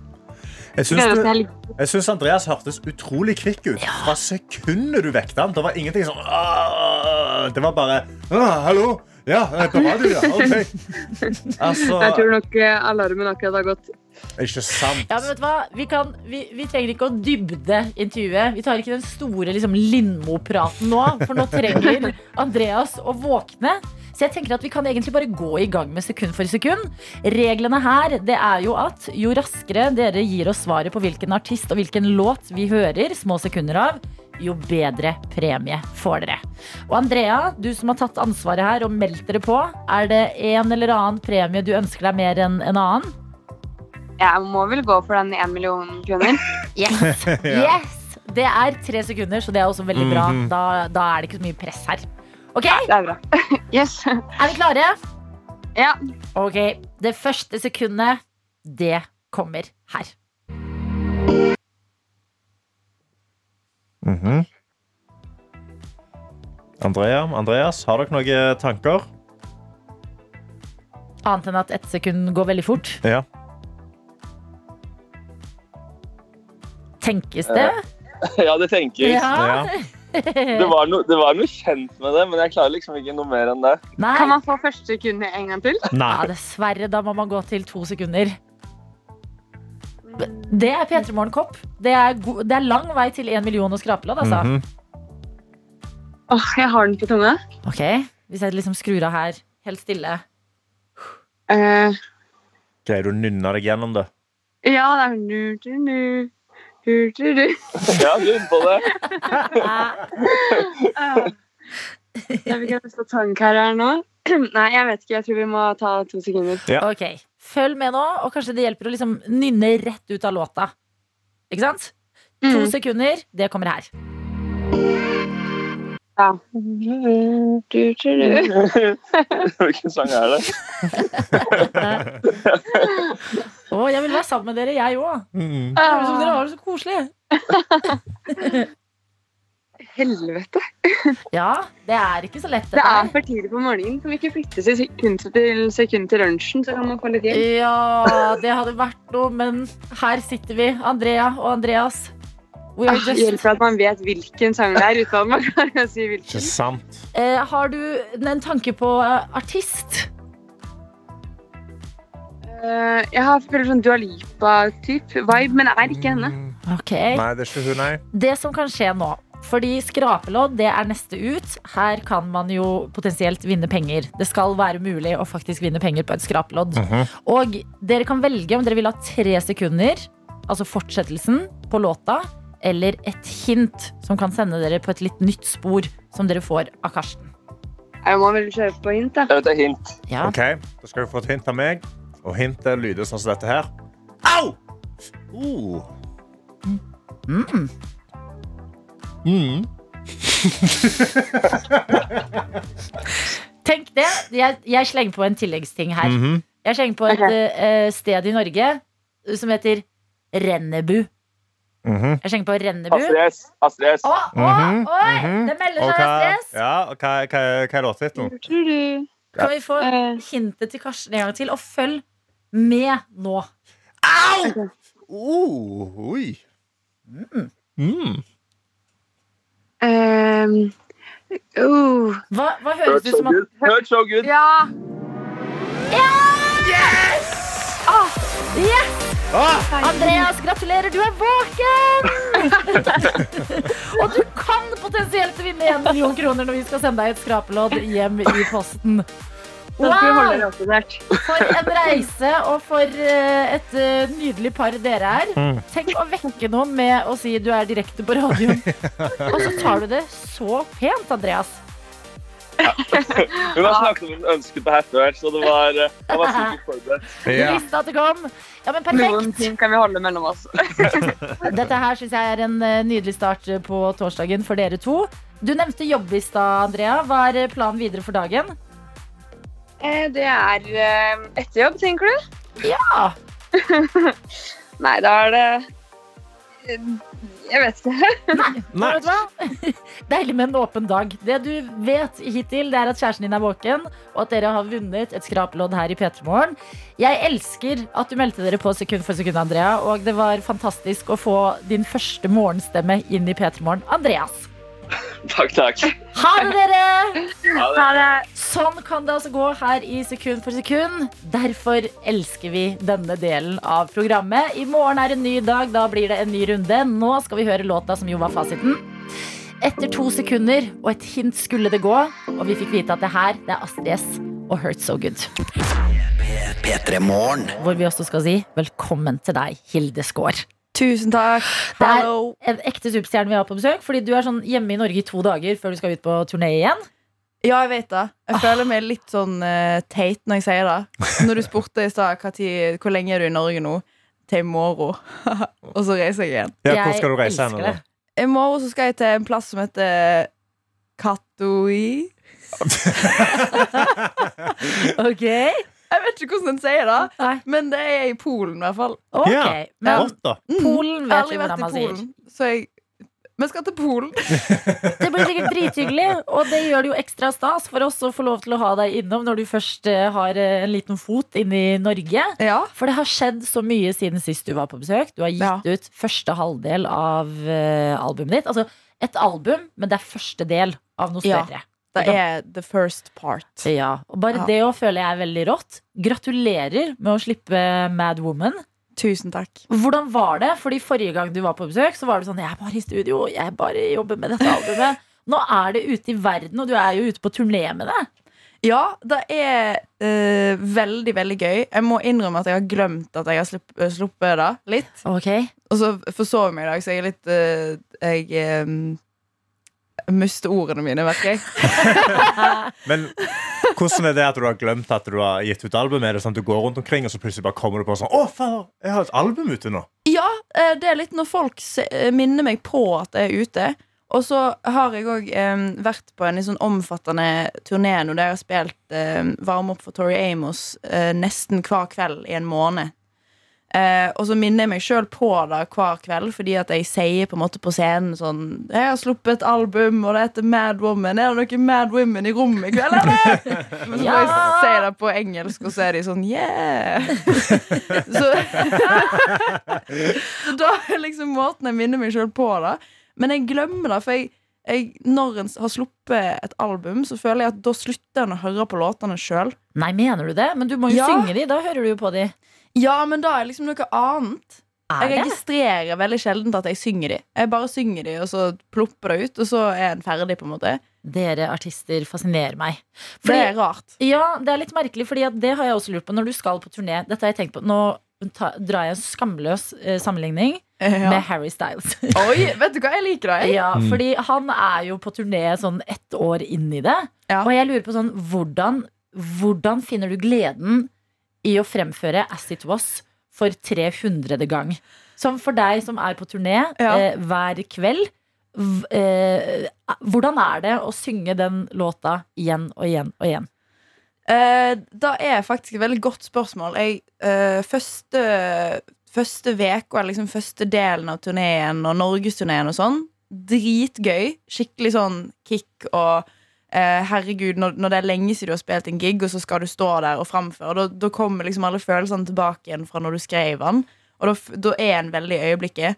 Jeg gleder oss syns, til helg. jeg syns Andreas hørtes utrolig kvikk ut fra sekundet du vekket han. Det var ingenting sånn «Åh!» Det var bare «Åh, Hallo? Ja, jeg er på radio, ja. OK. Jeg Altså tror nok eh, alarmen akkurat har gått. Ikke sant. Ja, men vet du hva? Vi, kan, vi, vi trenger ikke å dybde intervjuet. Vi tar ikke den store liksom, Lindmo-praten nå, for nå trenger Andreas å våkne. Så jeg tenker at vi kan egentlig bare gå i gang med sekund for sekund. Reglene her det er jo at jo raskere dere gir oss svaret på hvilken artist og hvilken låt vi hører små sekunder av, jo bedre premie får dere. Og Andrea, du som har tatt ansvaret her og meldt dere på, er det en eller annen premie du ønsker deg mer enn en annen? Jeg må vel gå for den én million kroner. Yes. Ja. yes! Det er tre sekunder, så det er også veldig bra. Mhm. Da, da er det ikke så mye press her. Ok, Det er bra. Yes. Er vi klare? Ja. Ok, Det første sekundet, det kommer her. Mhm. Andrea, Andreas, har dere noen tanker? Annet enn at ett sekund går veldig fort. Ja. Tenkes det? Ja, det tenkes. Ja. Det, var no, det var noe kjent med det, men jeg klarer liksom ikke noe mer enn det. Kan Nei. man få første sekundet en gang til? Ja, Nei. dessverre. Da må man gå til to sekunder. Det er P3 Morgen-kopp. Det, er go- det er lang vei til én million og skrapelodd, altså. Mhm. Åh, jeg har den på tunga. Ok, hvis jeg liksom skrur av her Helt stille Eh, Greier du å nynne deg gjennom det? ja, det er nu-tu-nu. Hurtiru. Ja, du er inne på det. Jeg fikk jeg lyst til å ta en kar her nå. Nei, jeg vet ikke. Jeg tror vi må ta to sekunder. Ok, følg med nå Og kanskje det hjelper å liksom nynne rett ut av låta Ikke sant? To Mm. sekunder, det kommer her Ja. Du-tu-du. Hvilken sang er det? Å, jeg vil være sammen med dere, jeg også Mm. Mhm. Det er Ah. som Dere har det så koselig Helvete. Ja, det er ikke så lett Det dette er for tidlig på morgenen. Kan vi ikke flytte til sekund til sekund til lunsjen, så kan man få litt hjelp? Ja, det hadde vært noe Men her sitter vi, Andrea og Andreas We Ah, are Det just hjelper at man vet hvilken sang det er, uten at man klarer å si Ikke hvilken. sant. eh, Har du en tanke på eh, artist? Eh, jeg har føler sånn Dua Lipa-type vibe, men det er ikke henne. Ok Nei, det er ikke hun, nei. Det som kan skje nå fordi skrapelodd det er neste ut. Her kan man jo potensielt vinne penger. Det skal være mulig å faktisk vinne penger på et skrapelodd. Mhm. Og dere kan velge om dere vil ha tre sekunder, altså fortsettelsen på låta, eller et hint som kan sende dere på et litt nytt spor, som dere får av Karsten. Mm. Jeg må vel kjøre på hint, da. Jeg vet det er hint. Ja. Ok, Da skal du få et hint av meg. Og hintet lyder sånn som dette her. Au! Uh. Mm. Mm. Tenk det. Jeg, jeg slenger på en tilleggsting her. Mhm. Jeg slenger på et Ok. eh, sted i Norge eh, som heter Rennebu. Mhm. Jeg slenger på Rennebu. Astrid S. Astrid S. Å, å, Mhm, oi! mhm. Det melder Og seg hva, stress. ja, og hva, hva, hva er låttittelen? Tror du Kan vi få eh, hintet til Karsten en gang til? Og følg med nå. Uh, oi. Mm. ehm, uh, Hva, hva høres Hurt ut so som at good. Hurt so good. Ja! Ah, Andreas, gratulerer, du er våken! og du kan potensielt vinne en million kroner når vi skal sende deg et skrapelodd hjem i posten. Da skal vi holde Wow! dere oppdatert. For en reise, og for eh, et eh, nydelig par dere er. Mm. Tenk å vekke noen med å si du er direkte på radioen. Og så tar du det så pent, Andreas. Hun har snakket om hun ønsket det her før, så det var, eh, jeg var sikkert forberedt. Du ja. visste at det kom. Ja, men Noen perfekt. ting kan vi holde mellom oss. Dette her synes jeg er en eh, nydelig start eh, på torsdagen for dere to. Du nevnte jobb i stad, Andrea. Hva er eh, planen videre for dagen? Eh, Det er eh, etter jobb, tenker du? Ja. Nei, da er det eh, Jeg vet ikke. Men Nei. Vet du hva? Deilig med en åpen dag. Det du vet hittil, det er at kjæresten din er våken, og at dere har vunnet et skrapelodd her i P3 Morgen. Jeg elsker at du meldte dere på sekund for sekund, Andrea, og det var fantastisk å få din første morgenstemme inn i P3 Morgen. Andreas. Takk, takk. Ha det, dere! Ja, det, Ha det. Sånn kan det altså gå her i sekund for sekund. Derfor elsker vi denne delen av programmet. I morgen er en ny dag, da blir det en ny runde. Nå skal vi høre låta som jo var fasiten. Etter to sekunder og et hint skulle det gå, og vi fikk vite at det her det er Astrid S og Hurt So Good. Hvor vi også skal si velkommen til deg, Hilde Skaar. Tusen takk. Det er Hallo. en ekte superstjerne vi har på besøk, fordi du er sånn hjemme i Norge i to dager før du skal ut på turné igjen. Ja, jeg vet det. Jeg føler meg litt sånn eh, teit når jeg sier det. Når du spurte i stad hva tid- hvor lenge er du i Norge nå, til i morgen. Og så reiser jeg igjen. Ja, hvor skal du Jeg reise hen? elsker nå? det. I morgen så skal jeg til en plass som heter Katoi. Ok. Jeg vet ikke hvordan den sier det, Nei. men det er i Polen i hvert fall. Ok, Ja. men Godt, da. Mm. Polen Jeg har vet aldri vi vært hvordan i man sier. Polen, så jeg Vi skal til Polen. Det blir sikkert drithyggelig, og det gjør det jo ekstra stas for oss å få lov til å ha deg innom når du først eh, har eh, en liten fot inne i Norge. Ja. For det har skjedd så mye siden sist du var på besøk. Du har gitt ut første halvdel av eh, albumet ditt. Altså et album, men det er første del av noe Ja. større. Det er the first part. Ja. Og bare Ja. det å føler jeg er veldig rått. Gratulerer med å slippe Mad Woman. Tusen takk. Hvordan var det? Fordi Forrige gang du var på besøk, så var du sånn Jeg er bare i studio, jeg bare jobber med dette albumet. Nå er det ute i verden, og du er jo ute på turné med det. Ja, det er eh, veldig, veldig gøy. Jeg må innrømme at jeg har glemt at jeg har slupp, eh, sluppet det litt. Ok Og så forsov jeg meg i dag, så jeg er litt eh, Jeg eh, mister ordene mine, merker jeg. Men hvordan er det at du har glemt at du har gitt ut album? Er det sånn at du går rundt omkring, og så plutselig bare kommer du på sånn Å, fader, jeg har et album ute nå. Ja, eh, det er litt når folk se, eh, minner meg på at jeg er ute. Og så har jeg òg vært på en litt sånn omfattende turné nå der jeg har spilt um, varme opp for Tori Amos eh, nesten hver kveld i en måned. Eh, og så minner jeg meg sjøl på det hver kveld, fordi at jeg sier på en måte på scenen sånn 'Jeg har sluppet et album, og det heter Mad Woman. Er det noen Mad Women i rommet i kveld, eller?' Men så må jeg Ja. si det på engelsk, og så er de sånn 'Yeah'. så så da er liksom måten jeg minner meg sjøl på det. Men jeg glemmer det, for jeg, jeg, når en har sluppet et album, så føler jeg at da slutter en å høre på låtene sjøl. Nei, mener du det? Men du må jo Ja. synge de. Da hører du jo på de. Ja, men da er liksom noe annet. Er Jeg det? registrerer veldig sjelden at jeg synger de. Jeg bare synger de, og så plopper det ut, og så er en ferdig, på en måte. Dere artister fascinerer meg. For Fordi, det er rart. ja, det er litt merkelig, Fordi at det har jeg også lurt på når du skal på turné. Dette har jeg tenkt på Nå ta, drar jeg en skamløs eh, sammenligning med Ja. Harry Styles. Oi, vet du hva? Jeg liker deg. ja, fordi han er jo på turné sånn ett år inn i det. Ja. Og jeg lurer på sånn, hvordan, hvordan finner du gleden i å fremføre As It Was for 300. gang. Som for deg som er på turné Ja. eh, hver kveld. v- Eh, hvordan er det å synge den låta igjen og igjen og igjen? Eh, da er faktisk et veldig godt spørsmål. Jeg, eh, første første vek, eller liksom første delen av turneen og norgesturneen og sånn, dritgøy. Skikkelig sånn kick og eh, herregud, når, når det er lenge siden du har spilt en gig, og så skal du stå der og framføre, da, da kommer liksom alle følelsene tilbake igjen fra når du skrev den. Og da, f- da er en veldig i øyeblikket.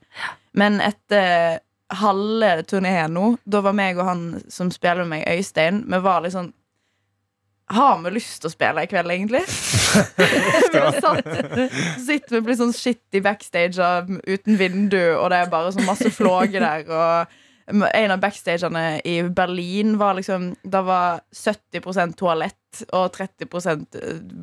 Men etter halve turneen nå, da var meg og han som spiller med meg, Øystein, vi var litt sånn har vi lyst til å spille i kveld, egentlig? vi har satt, sitter vi blir sånn shitty backstage av- uten vindu, og det er bare sånn masse flåger der. Og en av backstagene i Berlin var liksom Da var 70 toalett og 30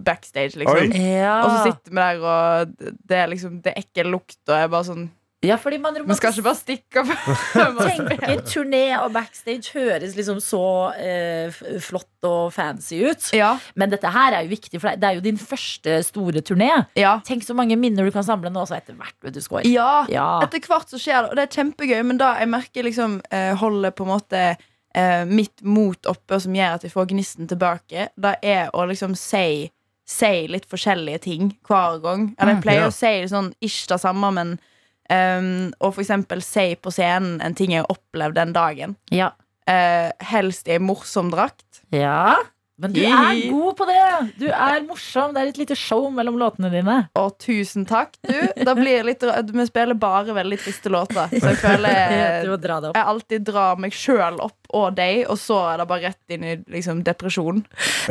backstage, liksom. Oi. Ja. Og så sitter vi der, og det er liksom Det er ekkel lukt, og jeg er bare sånn ja, fordi man Vi skal ikke bare stikke av. tenker turné og backstage høres liksom så eh, f- flott og fancy ut. ja, Men dette her er jo viktig, for deg. det er jo din første store turné. ja. Tenk så mange minner du kan samle nå, så etter hvert vet du score. Ja, Ja. etter hvert så skjer det, og det er kjempegøy, men da jeg merker liksom eh, holder på en måte eh, mitt mot oppe, og som gjør at vi får gnisten tilbake, da er å liksom si Si litt forskjellige ting hver gang. Eller jeg pleier Ja. å si sånn ish det samme, men ehm, Og for eksempel si på scenen en ting jeg har opplevd den dagen. Ja. Eh, helst i en morsom drakt. ja. Men du er Hihi. god på det! Du er morsom. Det er et lite show mellom låtene dine. Og tusen takk, du. Da blir det litt, vi spiller bare veldig triste låter, så jeg føler Du må dra det opp. jeg alltid drar meg sjøl opp og deg, og så er det bare rett inn i liksom, depresjon.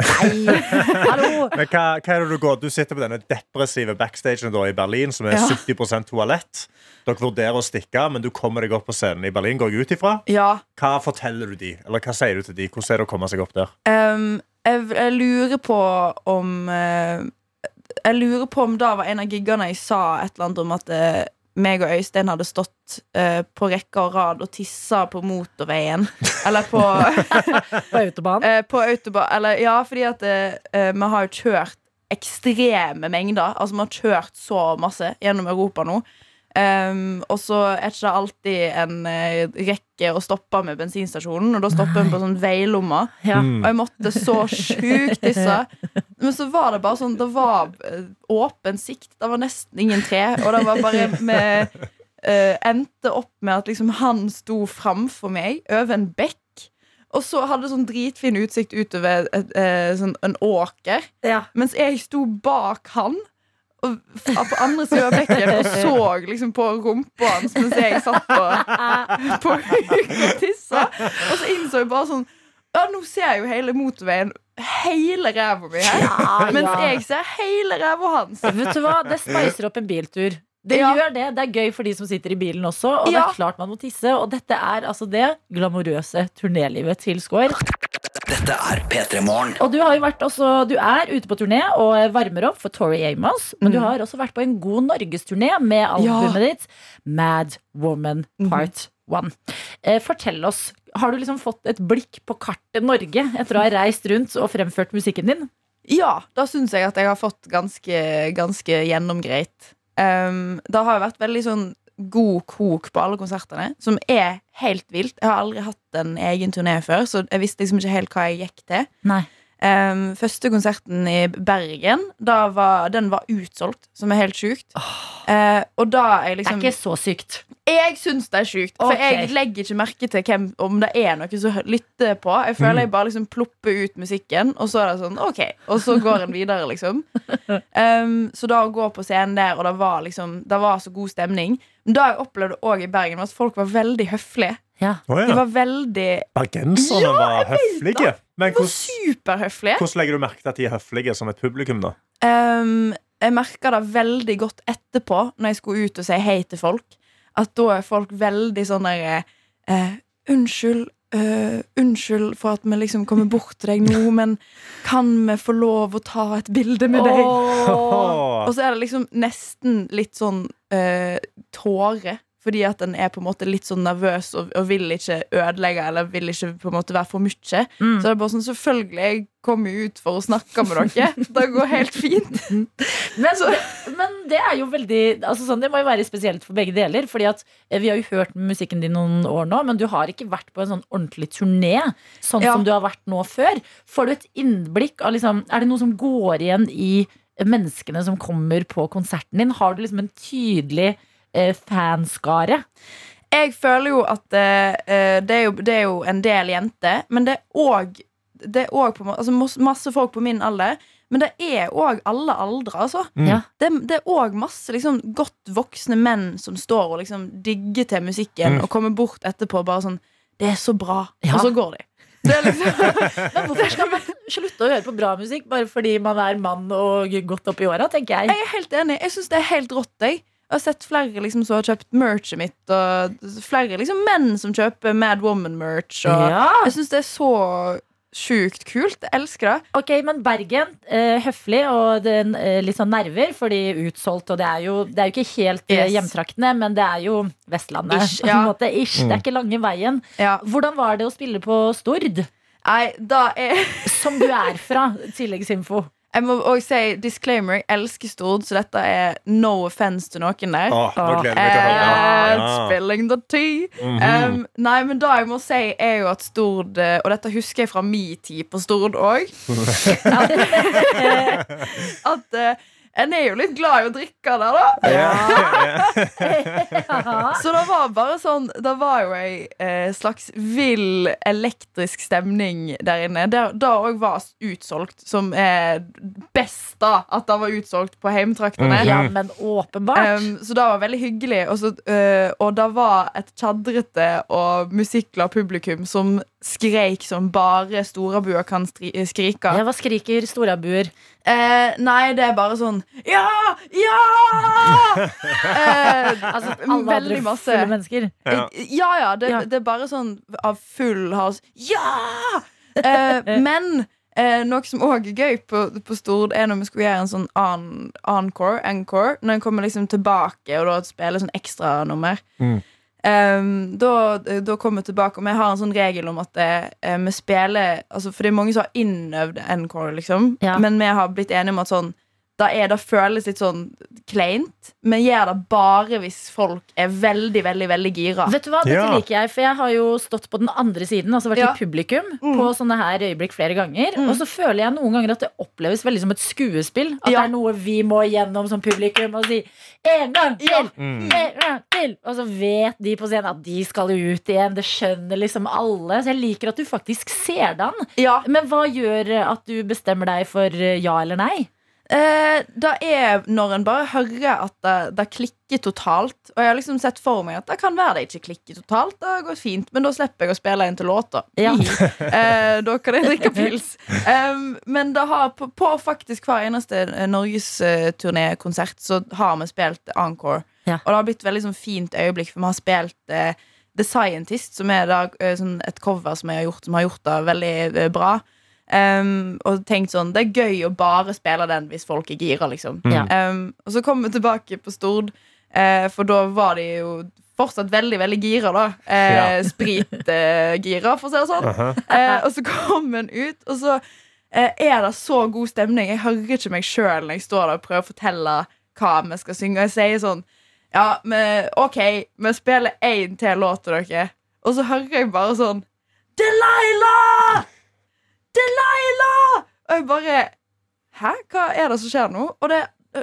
Nei, hallo! Men hva, hva er det du går? Du sitter på denne depressive backstagen da i Berlin, som er Ja. 70 toalett. Dere vurderer å stikke, men du kommer deg opp på scenen i Berlin. Går jeg ut ifra? Ja, Hva forteller du de? Eller hva sier du til de? Hvordan er det å komme seg opp der? ehm, jeg, jeg lurer på om eh, Jeg lurer på om da var en av giggene jeg sa et eller annet om at eh, meg og Øystein hadde stått eh, på rekke og rad og tissa på motorveien. Eller på, På autobanen. eh, på autobahn. Eller ja, fordi at eh, eh, vi har jo kjørt ekstreme mengder. Altså vi har kjørt så masse gjennom Europa nå. Ehm, og så er ikke det alltid en eh, rekke å stoppe med bensinstasjonen, og da stopper vi på sånn veilomma. Ja. Mm. Og jeg måtte så sjukt tisse. Men så var det bare sånn Det var eh, åpen sikt. Det var nesten ingen tre. Og det var bare med eh, Endte opp med at liksom han sto framfor meg over en bekk. Og så hadde det sånn dritfin utsikt utover et, eh, sånn en åker. Ja. Mens jeg sto bak han og f- på andre siden av bekken og så liksom på rumpa hans mens jeg satt på, på huk og tissa. Og så innså jeg bare sånn Ja, nå ser jeg jo hele motorveien, hele ræva mi her. Mens jeg ser hele ræva hans. Vet du hva? Det spicer opp en biltur. Det Ja. gjør det. Det er gøy for de som sitter i bilen også. Og det Ja. er klart man må tisse. Og dette er altså det glamorøse turnélivet til Skår. Dette er P3 Morgen. Og du har jo vært også Du er ute på turné og varmer opp for Tori Amos. Men Mm. du har også vært på en god norgesturné med albumet ditt Mad Woman Mhm. Part 1. Eh, fortell oss. Har du liksom fått et blikk på kartet Norge etter å ha reist rundt og fremført musikken din? Ja, da syns jeg at jeg har fått ganske, ganske gjennomgreit. Um, det har jo vært veldig sånn god kok på alle konsertene, som er helt vilt. Jeg har aldri hatt en egen turné før, så jeg visste liksom ikke helt hva jeg gikk til. Nei. Um, første konserten i Bergen, da var, den var utsolgt, som er helt sjukt. Eh, og da er jeg Det liksom er ikke så sykt. jeg syns det er sjukt, for Ok. jeg legger ikke merke til hvem, om det er noe som hø- lytter på. Jeg Mm. føler jeg bare liksom plopper ut musikken, og så er det sånn OK. Og så går en videre, liksom. Um, så da å gå på scenen der, og det var liksom Det var så god stemning. Men da jeg opplevde òg i Bergen, var at folk var veldig høflige. Ja. Oh, De var veldig Bergenserne var høflige. Men De var hvordan, superhøflige. hvordan legger du merke til at de er høflige som et publikum? da? Ehm, jeg merka det veldig godt etterpå, når jeg skulle ut og si hei til folk, at da er folk veldig sånn der eh, Unnskyld. eh, unnskyld for at vi liksom kommer bort til deg nå, men kan vi få lov å ta et bilde med deg? Og så er det liksom nesten litt sånn eh, tåre. Fordi at en er på en måte litt sånn nervøs og, og vil ikke ødelegge eller vil ikke på en måte være for mye. Mm. Så det er bare sånn, selvfølgelig, jeg kommer jo ut for å snakke med dere. det går helt fint. Men, men det er jo veldig altså sånn, Det må jo være spesielt for begge deler. Fordi at eh, Vi har jo hørt musikken din noen år nå, men du har ikke vært på en sånn ordentlig turné. Sånn Ja. som du har vært nå før. Får du et innblikk av liksom, Er det noe som går igjen i menneskene som kommer på konserten din? Har du liksom en tydelig eh, fanskare? Jeg føler jo at eh, eh, det, er jo, det er jo en del jenter, men det er òg det er også på, en måte- altså, mas- masse folk på min alder. Men det er òg alle aldre, altså. Ja. Det, det er òg masse liksom, godt voksne menn som står og liksom digger til musikken og kommer bort etterpå og bare sånn Det er så bra. Ja. Og så går de. Det er liksom, Men hvorfor skal man slutte å høre på bra musikk bare fordi man er mann og godt opp i åra, tenker jeg. jeg er helt enig. Jeg syns det er helt rått. Jeg. jeg har sett flere liksom, som har kjøpt merchet mitt, og flere liksom, menn som kjøper Mad Woman-merch. Og Ja. Jeg syns det er så sjukt kult. Jeg elsker det. Ok, men Bergen, eh, høflig og den, eh, litt sånn nerver, fordi utsolgt, og det er jo, det er jo ikke helt eh, Yes. hjemtraktene, men det er jo Vestlandet, Ish, på en ja. måte, ish. Det er ikke lange veien. Ja. Hvordan var det å spille på Stord, Nei, da er som du er fra, tilleggsinfo? Jeg må òg si disclaimer. Jeg elsker Stord, så dette er no offense til noen der. Åh, nå gleder jeg meg til å høre. And Ja. Mhm. spilling the tea. um, nei, men det jeg må si, er jo at Stord eh, Og dette husker jeg fra min tid på Stord òg. at eh, en er jo litt glad i å drikke der, da. Så det var bare sånn Det var jo ei eh, slags vill elektrisk stemning der inne. Det det òg var utsolgt, som er best, da. At det var utsolgt på heimtraktene. Ja, men åpenbart. Um, så det var veldig hyggelig. Og, så, eh, og det var et tjadrete og musikkglad publikum som skreik som bare storabua kan stri eh, skrike. Ja, hva skriker storabuer? Eh, nei, det er bare sånn Ja! Ja! Eh, Altså, alle andre veldig masse. fulle mennesker. Ja. ja, ja, det, Ja. det er bare sånn av full hals Ja! Eh, men eh, noe som òg er gøy på, på Stord, er når vi skulle gjøre en sånn an, encore, encore. Når en kommer liksom tilbake og da spiller sånn ekstranummer. Mm. Um, da, da kommer vi tilbake, og vi har en sånn regel om at eh, vi spiller altså, For det er mange som har innøvd encore, liksom. Ja. Men vi har blitt enige om at sånn da er det føles litt sånn kleint. Men gjør det bare hvis folk er veldig, veldig veldig gira. Vet du hva, Dette Ja. liker jeg, for jeg har jo stått på den andre siden, altså vært Ja. Mm. i publikum, på sånne her øyeblikk flere ganger. Og så føler jeg noen ganger at det oppleves veldig som et skuespill. At det Ja. er noe vi må gjennom som publikum og si en gang til! En gang til! Og så vet de på scenen at de skal ut igjen. Det skjønner liksom alle. Så jeg liker at du faktisk ser det an. Ja. Men hva gjør at du bestemmer deg for eh, ja eller nei? Eh, det er når en bare hører at det, det klikker totalt. Og jeg har liksom sett for meg at det kan være det ikke klikker totalt. Det går fint, Men da slipper jeg å spille inn til låta. Ja. Eh, da kan jeg drikke pils. Em, men det har på, på faktisk hver eneste eh, norgesturnékonsert så har vi spilt encore. Ja. Og det har blitt veldig sånn fint øyeblikk, for vi har spilt eh, The Scientist, som er da, eh, sånn et cover som jeg har gjort, som har gjort det veldig eh, bra. Em, og tenkt sånn Det er gøy å bare spille den hvis folk er gira, liksom. Mm. Ja. Em, og så kom vi tilbake på Stord, eh, for da var de jo fortsatt veldig, veldig gira, da. Eh, Ja. Spritgira, for å si det sånn. Eh, og så kom hun ut, og så eh, er det så god stemning. Jeg hører ikke meg sjøl når jeg står der og prøver å fortelle hva vi skal synge. Jeg sier sånn Ja, men, OK, vi spiller én til låt til dere. Og så hører jeg bare sånn Delilah! Delilah! Og jeg bare Hæ? Hva er det som skjer nå? Og det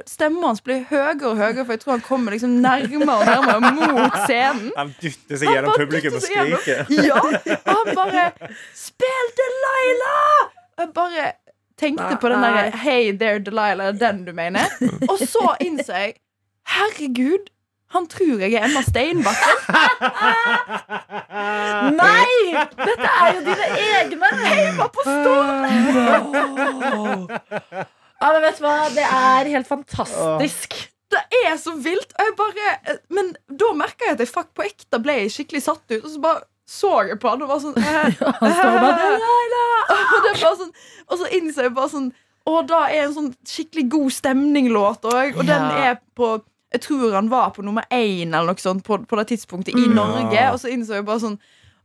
Stemmen hans blir høyere og høyere, for jeg tror han kommer liksom nærmere og nærmere mot scenen. Han dytter seg gjennom bare publikum og dytter seg gjennom. skriker. Ja, og han bare Spill Delilah! Og jeg bare tenkte på den derre Hey there, Delilah, er det den du mener? Og så innså jeg Herregud, han tror jeg er Emma Steinbakken. Nei! Dette er jo dine egne! Hjemme på Ja, men vet du hva? Det er helt fantastisk. Det er så vilt. Og jeg bare, eh, men da merka jeg at jeg fuck på ekte ble skikkelig satt ut. Og så bare så jeg på han og var sånn eh, står bare, Delilah! Og, det er bare sånn, og så innså jeg bare sånn Å, da er en sånn skikkelig god stemning-låt òg. Og den Ja. er på Mm. jeg tror han var på nummer én eller noe sånt på, på det tidspunktet i Norge. Og så innså jeg bare sånn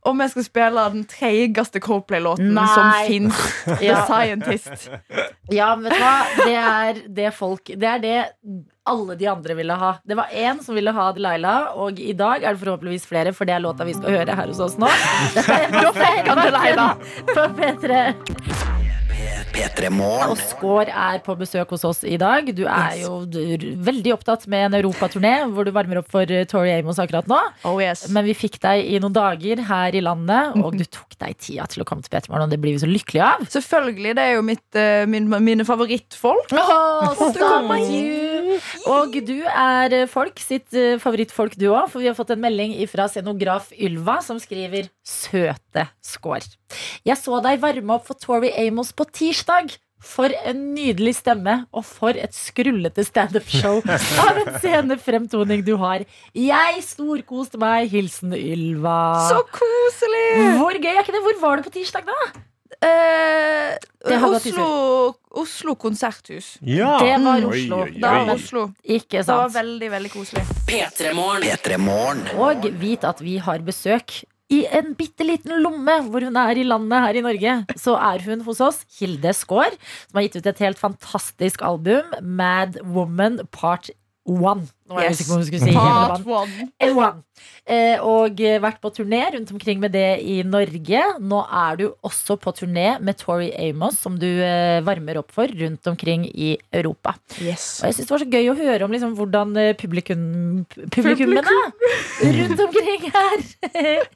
om jeg skal spille den treigeste Coldplay-låten Nei. som fins. The Ja. Scientist. Ja, men vet du hva? Det er det folk Det er det alle de andre ville ha. Det var én som ville ha Delilah, og i dag er det forhåpentligvis flere, for det er låta vi skal høre her hos oss nå. Dette er Rockverken På P3. P3 Morgen. Og Skår er på besøk hos oss i dag. Du er jo d- veldig opptatt med en europaturné, hvor du varmer opp for eh, Tori Amos akkurat nå. Oh yes. Men vi fikk deg i noen dager her i landet, og du tok deg tida til å komme til Petermorgen, og det blir vi så lykkelige av. Selvfølgelig. Det er jo mitt, eh, min, mine favorittfolk. Åh, Star you. Og du er eh, folk sitt eh, favorittfolk, du òg. For vi har fått en melding fra scenograf Ylva, som skriver 'Søte skår'. Jeg så deg varme opp for Tori Amos på tirsdag. For en nydelig stemme, og for et skrullete standup-show av en sene fremtoning du har. Jeg storkoste meg. Hilsen Ylva. Så koselig! Hvor gøy er ikke det? Hvor var du på tirsdag, da? Eh, Det hadde vært Oslo, Oslo konserthus. Ja. Det var Oi, Oslo. oi, oi. Det var Oslo. Ikke Det var sant? veldig, veldig koselig. P3 Morgen. P3 Morgen. Og vit at vi har besøk i en bitte liten lomme hvor hun er i landet her i Norge. Så er hun hos oss, Hilde Skaar, som har gitt ut et helt fantastisk album, Mad Woman Part 1. Nå er jeg Yes. usikker på om hun skulle si hele Part band. one. Eh, one. Eh, Og eh, vært på turné rundt omkring med det i Norge. Nå er du også på turné med Tori Amos, som du eh, varmer opp for rundt omkring i Europa. Og jeg synes det var så gøy å høre om liksom, hvordan eh, publikum, publikummene rundt omkring her.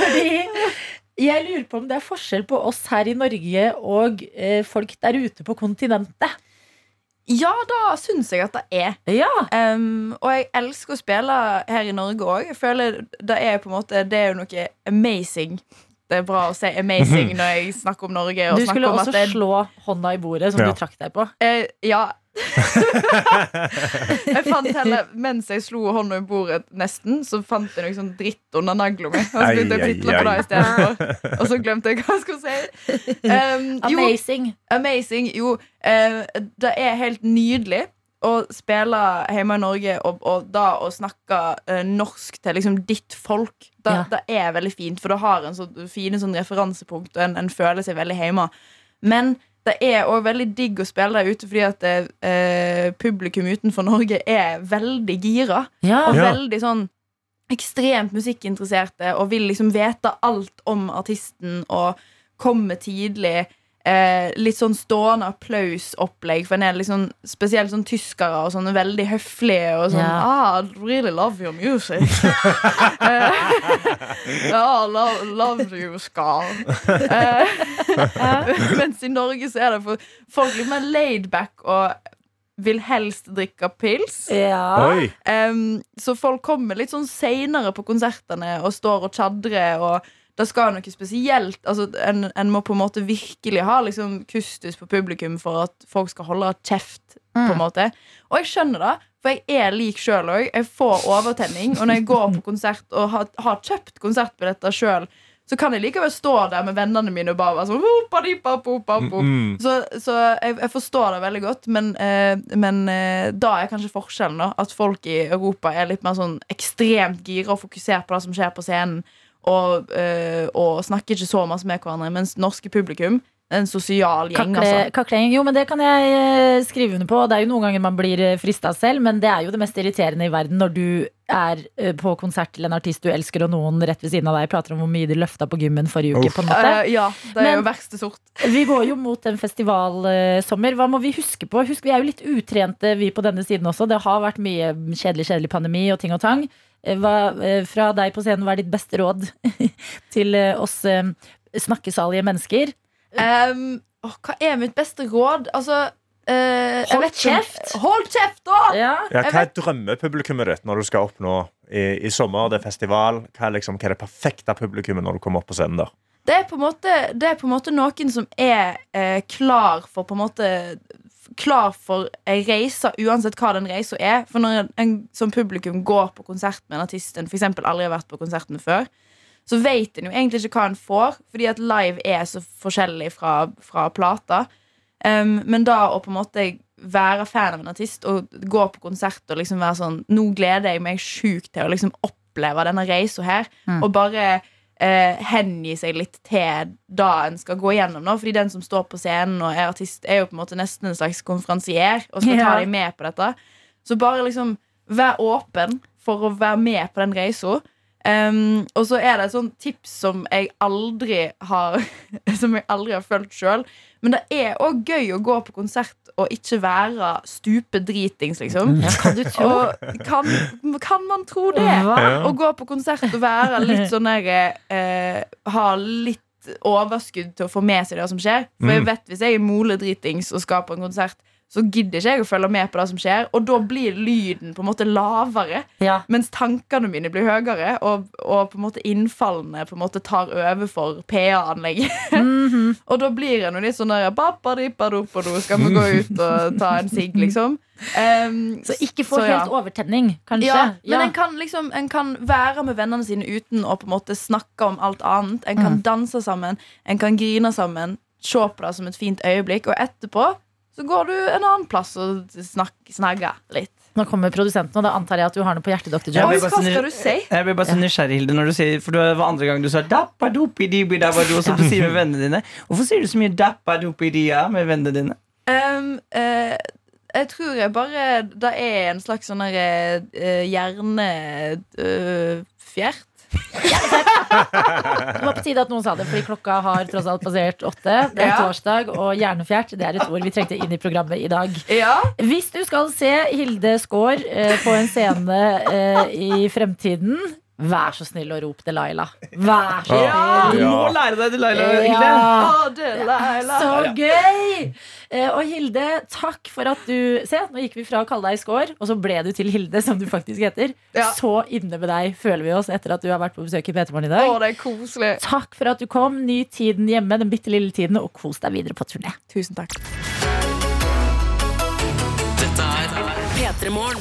Fordi jeg lurer på om det er forskjell på oss her i Norge og eh, folk der ute på kontinentet. Ja, da syns jeg at det er. Ja, Em, og jeg elsker å spille her i Norge òg. Jeg føler det er på en måte Det er jo noe amazing. Det er bra å si amazing når jeg snakker om Norge. Og Du snakker skulle om også at det, er- slå hånda i bordet, som Ja. du trakk deg på. Eh, ja. jeg fant heller Mens jeg slo hånda i bordet, nesten, så fant jeg noe sånn dritt under nagla mi. Og så begynte jeg å Ai, ai, pitle på det ai. istedenfor. Og så glemte jeg hva jeg skulle si. Em, jo, Amazing. Amazing. Jo, eh, det er helt nydelig å spille hjemme i Norge og, og da å snakke eh, norsk til liksom ditt folk. Det, Ja. det er veldig fint, for det har en så fine sånn referansepunkt, og en, en føler seg veldig hjemme. Men det er òg veldig digg å spille der ute, fordi at eh, publikum utenfor Norge er veldig gira. Ja. Og Ja. veldig sånn ekstremt musikkinteresserte og vil liksom vite alt om artisten og komme tidlig. Eh, litt sånn stående applausopplegg for en del liksom, spesielt sånn tyskere og sånne veldig høflige og sånn Ja. ah, I really love your music. eh, ah, love, love you, Scar. Eh, mens i Norge så er det for folk litt mer laid back og vil helst drikke pils. Ja. Oi. Em, så folk kommer litt sånn seinere på konsertene og står og tjadrer. Og det skal noe spesielt altså, en, en må på en måte virkelig ha liksom, kustus på publikum for at folk skal holde kjeft. På en måte Og jeg skjønner det, for jeg er lik sjøl òg. Jeg får overtenning. Og når jeg går på konsert og har, har kjøpt konsertbilletter sjøl, så kan jeg likevel stå der med vennene mine og bare være sånn «Hopa di, pa, po, pa, po». Mm. Så, så jeg, jeg forstår det veldig godt, men, eh, men eh, da er kanskje forskjellen da, at folk i Europa er litt mer sånn ekstremt gira og fokusert på det som skjer på scenen, og, eh, og snakker ikke så masse med hverandre, mens norske publikum er en sosial gjeng, Kakle, altså. kakling. Jo, men det kan jeg eh, skrive under på. Det er jo noen ganger man blir frista selv, men det er jo det mest irriterende i verden når du er eh, på konsert til en artist du elsker, og noen rett ved siden av deg prater om hvor mye de løfta på gymmen forrige uke. Uff. på en måte Eh, ja, det er Men- jo verste sort. Vi går jo mot en festivalsommer. Hva må vi huske på? Husk, vi er jo litt utrente, vi på denne siden også. Det har vært mye kjedelig, kjedelig pandemi og ting og tang. Eh, Hva, eh, fra deg på scenen, hva er ditt beste råd til eh, oss eh, snakkesalige mennesker? Em, åh, hva er mitt beste råd? Altså eh, jeg Hold vet ikke om- kjeft! Hold kjeft, da! Ja. Ja, Jeg hva er drømmepublikummet ditt når du skal opp nå i, i sommer? Det er festival. Hva er, liksom, hva er det perfekte publikummet når du kommer opp på scenen der? det er på en måte, det er på en måte noen som er eh, klar for på en måte f- Klar for ei reise, uansett hva den reisa er. For når en, en som publikum går på konsert med en artist en f.eks. aldri har vært på konsert med før, så vet en jo egentlig ikke hva en får, fordi at live er så forskjellig fra, fra plata. Em, men da å på en måte være fan av en artist og gå på konsert og liksom være sånn Nå gleder jeg meg sjukt til å liksom oppleve denne reisa her. Og bare eh, hengi seg litt til det en skal gå gjennom. Nå. Fordi den som står på scenen og er artist, er jo på en måte nesten en slags konferansier og skal ta Ja. deg med på dette. Så bare liksom vær åpen for å være med på den reisa. Um, og så er det et sånt tips som jeg aldri har Som jeg aldri har følt sjøl. Men det er òg gøy å gå på konsert og ikke være stupedritings, liksom. Ja, kan du tro Og kan, kan man tro det? Hva? Å gå på konsert Ah, og være litt sånn der eh, Ha litt overskudd til å få med seg det som skjer. For jeg Mm. vet hvis jeg er moledritings og skal på en konsert, så gidder ikke jeg å følge med på det som skjer. Og da blir lyden på en måte lavere, Ja. mens tankene mine blir høyere. Og, og på en måte innfallene på en måte tar over for PA-anlegget. Mm. Og da blir en jo litt sånn der «Bapadippadopado, Skal vi gå ut og ta en sigg, liksom? Em, Så ikke få så ja. helt overtenning, kanskje. Ja, men Ja. En, kan liksom, en kan være med vennene sine uten å på en måte snakke om alt annet. En kan Mm. danse sammen, en kan grine sammen, se på det som et fint øyeblikk, og etterpå så går du en annen plass og snak, snagger litt. Nå kommer produsenten, og da antar jeg at du har noe på hjertet, Dr. Ja, Oi, Jones. men- hva skal du si? Jeg blir bare så nysgjerrig, Hilde, når du sier For det var andre gang du sa «Dappadopidibidabado», som du sier med vennene dine. Hvorfor sier du så mye «Dappadopidia» med vennene dine? Ehm, eh, jeg tror jeg bare Det er en slags sånn der, eh, hjernefjert. Det var på tide at noen sa det, fordi klokka har tross alt passert åtte. Det er Ja. torsdag, og hjernefjert det er et ord vi trengte inn i programmet i dag. Ja. Hvis du skal se Hilde Skaar eh, på en scene eh, i fremtiden, vær så snill å rope Delilah. Vær så Ja! Du snill. må lære deg det, Laila. Hilde. Ja. Å, Delilah. Så gøy! Eh, Og Hilde, takk for at du Se, nå gikk vi fra å kalle deg Skår, og så ble du til Hilde, som du faktisk heter. Ja. Så inne med deg føler vi oss etter at du har vært på besøk i P3morgen i dag. Å, det er koselig. Takk for at du kom. Ny tiden hjemme, den bitte lille tiden, og kos deg videre på turné. Tusen takk. P3morgen.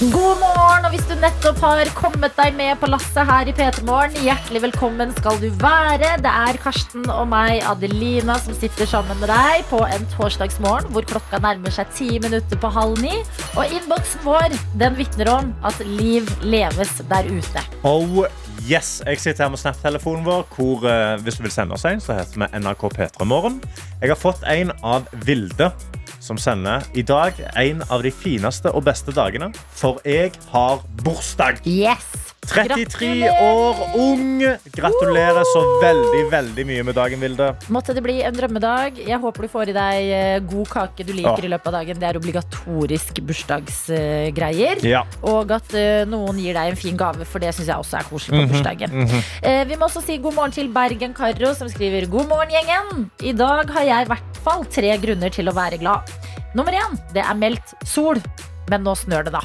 God morgen, og hvis du nettopp har kommet deg med på lasset her i P3morgen, hjertelig velkommen skal du være. Det er Karsten og meg, Adelina, som sitter sammen med deg på en torsdagsmorgen hvor klokka nærmer seg ti minutter på halv ni. Og innboksen vår den vitner om at liv leves der ute. Oh, yes. Jeg sitter her med Snap-telefonen vår, hvor eh, hvis du vil sende oss en, så heter vi NRK P3 Morgen. Jeg har fått en av Vilde, som sender i dag en av de fineste og beste dagene. For jeg har bursdag! Yes! 33 år ung! Gratulerer så veldig, veldig mye med dagen, Vilde. Måtte det bli en drømmedag. Jeg håper du får i deg eh, god kake du liker Ja. i løpet av dagen. Det er obligatorisk bursdagsgreier. Ja. Og at eh, noen gir deg en fin gave, for det syns jeg også er koselig Mhm. på bursdagen. Eh, vi må også si god morgen til Bergen Karro, som skriver god morgen, gjengen. I dag har jeg i hvert fall tre grunner til å være glad. Nummer én, det er meldt sol. Men nå snør det, da.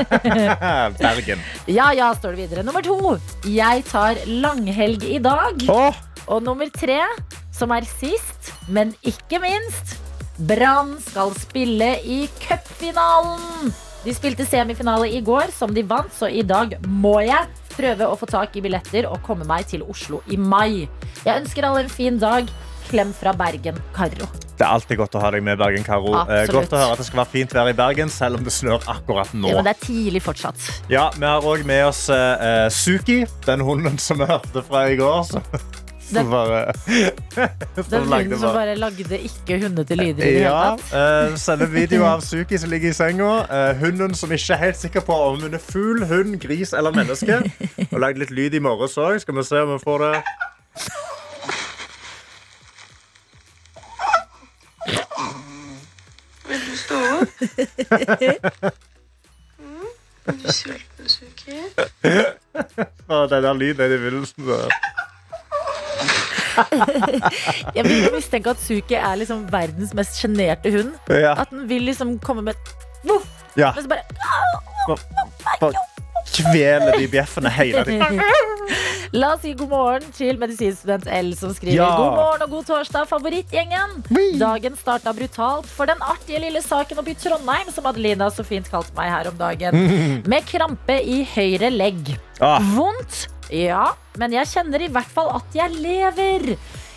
Bergen. Ja ja, står det videre. Nummer to, jeg tar langhelg i dag. Åh, Og nummer tre, som er sist, men ikke minst Brann skal spille i cupfinalen! De spilte semifinale i går, som de vant, så i dag må jeg prøve å få tak i billetter og komme meg til Oslo i mai. Jeg ønsker alle en fin dag. Klem fra Bergen, Karo. det er alltid godt å ha deg med, Bergen, Karo. Eh, Absolutt. Godt å høre at det skal være fint vær i Bergen, selv om det snør akkurat nå. Ja, men det er tidlig fortsatt. Ja, Vi har òg med oss eh, eh, Suki, den hunden som vi hørte fra i går. Som, som bare Den lagde hunden som bare lagde ikke hundete lyder i det hele Ja, tatt. eh, Sender video av Suki som ligger i senga. eh, hunden som ikke er helt sikker på om hun er fugl, hund, gris eller menneske. Og lagde litt lyd i morges òg. Skal vi se om vi får det Vil du stå opp? Mm. Er du sulten, Suki? Å, Den der lyden er i begynnelsen. da. Jeg vil jo mistenke at Suki er liksom verdens mest sjenerte hund. Ja. At den vil liksom komme med et voff, ja. men så bare Bare Kveler de bjeffene hele tiden. La oss si god morgen til medisinstudent L, som skriver Ja. god morgen og god torsdag, favorittgjengen. Dagen starta brutalt for den artige lille saken oppe i Trondheim, som Adelina så fint kalte meg her om dagen. Med krampe i høyre legg. Mm. Ah. Vondt? Ja, men jeg kjenner i hvert fall at jeg lever.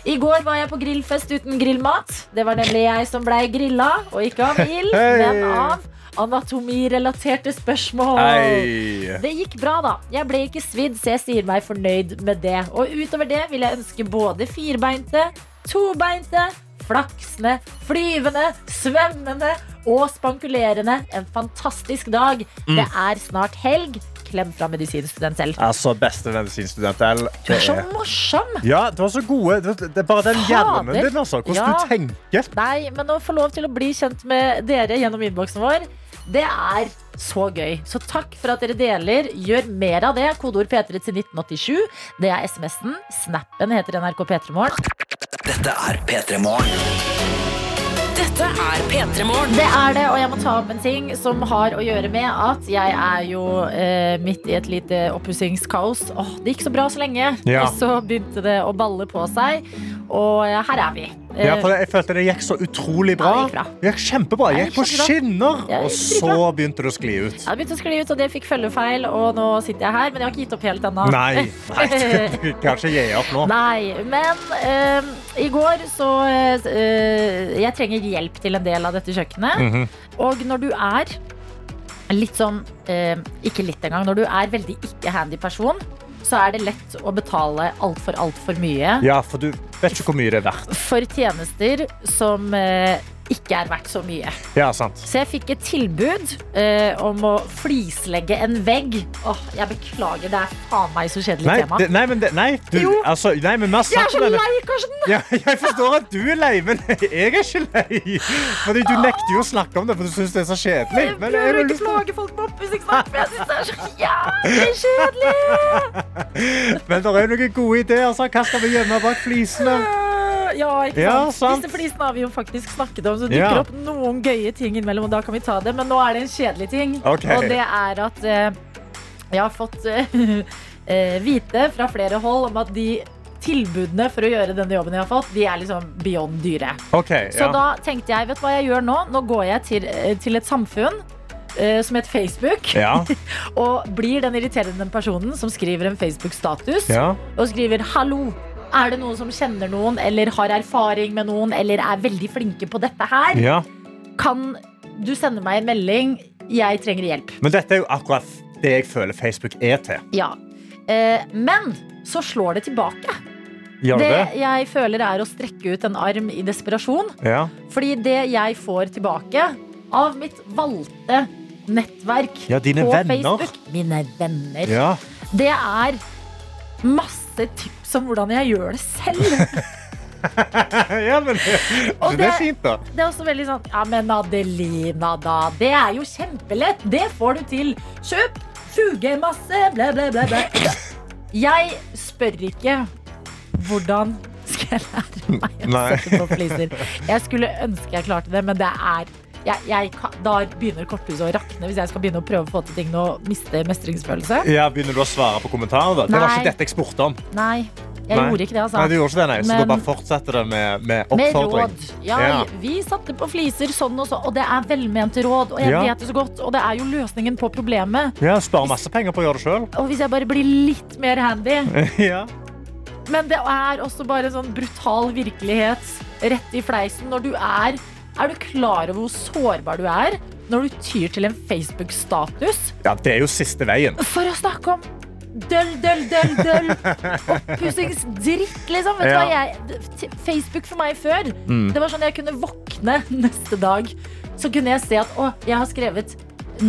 I går var jeg på grillfest uten grillmat. Det var nemlig jeg som blei grilla, og ikke av ild, Hei. men av anatomirelaterte spørsmål. Hei. Det gikk bra, da. Jeg ble ikke svidd, så jeg sier meg fornøyd med det. Og utover det vil jeg ønske både firbeinte, tobeinte, flaksende, flyvende, svømmende og spankulerende en fantastisk dag. Det er snart helg. Klem fra medisinstudent selv. Altså, beste medisinstudent L. Du det er så er- morsom! Ja, det var så gode. Det, det er bare den sånn. Fader. hjernen din, altså. Hvordan Ja. du tenker. Nei, men å få lov til å bli kjent med dere gjennom innboksen vår, det er så gøy. Så takk for at dere deler. Gjør mer av det. Kodeord P3 til 1987. Det er SMS-en. Snappen heter NRK P3morgen. Dette er P3 Morgen. Dette er P3 Morgen. Det er det, og jeg må ta opp en ting som har å gjøre med at jeg er jo eh, midt i et lite oppussingskaos. Åh, det gikk så bra så lenge. Ja. Så begynte det å balle på seg, og eh, her er vi. Eh, Ja, for jeg følte det gikk så utrolig bra. Ja, det gikk bra. Det gikk kjempebra. Ja, Jeg det gikk på gikk skinner, Ja, det og gikk så begynte det å skli ut. Ja, det begynte å skli ut, og det fikk følgefeil, og nå sitter jeg her. Men jeg har ikke gitt opp helt ennå. Nei, nei du kan ikke gi opp nå. Nei, men eh, i går så eh, Jeg trenger hjelp til en del av dette kjøkkenet. Mhm. Og når du er litt sånn eh, Ikke litt engang. Når du er veldig ikke-handy person, så er det lett å betale altfor, altfor mye Ja, for du vet ikke hvor mye det er verdt. for tjenester som eh, ikke er verdt så mye. Ja, sant. Så jeg fikk et tilbud eh, om å flislegge en vegg. Åh, jeg beklager, det er faen meg så kjedelig Nei, tema. det, nei, men, det, nei, du, Jo. altså, nei, men vi har jeg er sagt så om denne- lei, Karsten! Ja, jeg forstår at du er lei, men jeg er ikke lei. Fordi du nekter jo å snakke om det, for du syns det er så kjedelig. Jeg Men jeg prøver å har ikke lyst til- plage folk med oppussingsknapp, for jeg syns det er så jævlig kjedelig. Men det er jo noen gode ideer. Altså. Hva skal vi gjemme bak flisene? Ja, ikke sant? Ja, sant. Disse flisene har vi jo faktisk snakket om, så det Ja. dukker opp noen gøye ting innimellom, og da kan vi ta det. Men nå er det en kjedelig ting, Ok. og det er at eh, jeg har fått eh, eh, vite fra flere hold om at de tilbudene for å gjøre denne jobben jeg har fått, de er liksom beyond dyre. OK. Så Ja. da tenkte jeg, vet du hva jeg gjør nå? Nå går jeg til, eh, til et samfunn eh, som heter Facebook. Ja. Og blir den irriterende personen som skriver en Facebook-status ja. og skriver 'hallo'. Er det noen som kjenner noen eller har erfaring med noen eller er veldig flinke på dette her? ja. Kan du sende meg en melding? Jeg trenger hjelp. Men dette er jo akkurat det jeg føler Facebook er til. Ja. Eh, men så slår det tilbake. Gjør det det? Det jeg føler er å strekke ut en arm i desperasjon. Ja. Fordi det jeg får tilbake av mitt valgte nettverk Ja, dine på venner. Facebook Mine venner. ja. Det er masse tips om hvordan jeg gjør det selv. ja, men Og Men det er det- fint, da. Det er også veldig sånn Ja, men Adelina, da. Det er jo kjempelett. Det får du til. Kjøp fugemasse, blæ, blæ, blæ, blæ. Jeg spør ikke hvordan skal jeg lære meg å Nei. sette på fliser. Jeg skulle ønske jeg klarte det, men det er jeg, jeg, kan- da begynner korthuset å rakne hvis jeg skal begynne å prøve å få til ting og miste mestringsfølelse. Ja, Begynner du å svare på kommentarer? da? Det var Nei. ikke dette jeg spurte om. Nei, jeg Nei. gjorde ikke det, altså. Nei, du gjorde ikke det, nei. Så Men- da bare fortsetter det med, med Med oppfordring. råd. Ja, Ja. Vi satte på fliser sånn og sånn, og det er velmente råd. Og jeg Ja. vet det så godt, og det er jo løsningen på problemet. Ja, Spare masse penger på å gjøre det sjøl. Og hvis jeg bare blir litt mer handy ja. Men det er også bare en sånn brutal virkelighet rett i fleisen når du er Er du klar over hvor sårbar du er når du tyr til en Facebook-status ja, det er jo siste veien. for å snakke om Døll, døll, døll, døll. Oppussingsdritt, liksom. Vet du hva Ja. jeg t- Facebook for meg før, Mm. det var sånn jeg kunne våkne neste dag. Så kunne jeg se at å, jeg har skrevet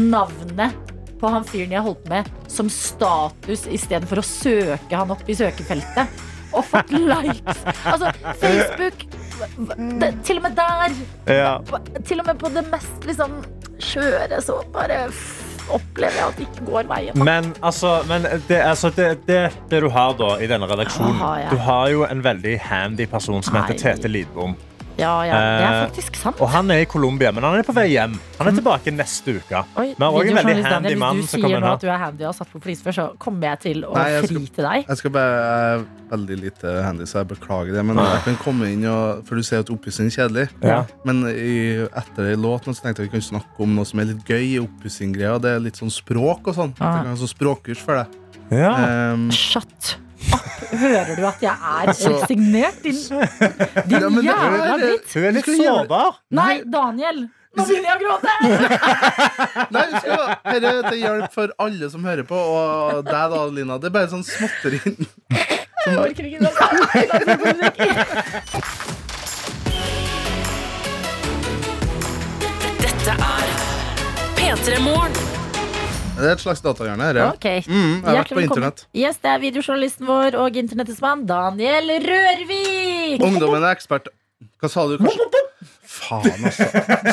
navnet på han fyren jeg holdt med, som status istedenfor å søke han opp i søkefeltet. Og fått likes. Altså, Facebook hva- hva- det, Til og med der Ja. på- Til og med på det mest liksom skjøre, så bare f- opplever jeg at det ikke går veien. Men, altså, men det, altså, det, det, det du har da i denne redaksjonen Hva har jeg? Du har jo en veldig handy person som heter Nei. Tete Lidbom. Ja, ja, det er Eh, faktisk sant. Og han er i Colombia, men han er på vei hjem. Han Mm. er tilbake neste uke. Oi, Vi har også en veldig videojournalist Daniel, handy mann Hvis du som kommer sier nå inn at du er handy og har satt på flis før, så kommer jeg til å Nei, jeg fri til deg. Jeg skal bare jeg er veldig lite handy, så jeg beklager det. Men jeg kan komme inn og For du ser at oppussing er kjedelig. Ja. Men i, etter ei låt nå, så tenkte jeg vi kan snakke om noe som er litt gøy i oppussing-greia. Det er litt sånn språk og sånn. At Jeg kan ha sånn språkkurs for deg. her. Ja. Ehm, Shut up! Hører du at jeg er Så- resignert, din, din Ja, men det er- jævla dritt? Hun er litt Skal vi gjøre- sårbar. Nei, Daniel! Nå begynner jeg å gråte! Nei, vi skal høre til hjelp for alle som hører på, og deg da, Lina. Det er bare sånn småtteri. Jeg orker ikke det. Dette er P3 Morgen. Det er et slags datahjerne her, ja. Ok. Mm, jeg har vært Hjertelig på velkommen. internett. Yes, det er videojournalisten vår og internettets mann Daniel Rørvik. Ungdommen er ekspert. Hva sa du? Kanskje? Faen, altså.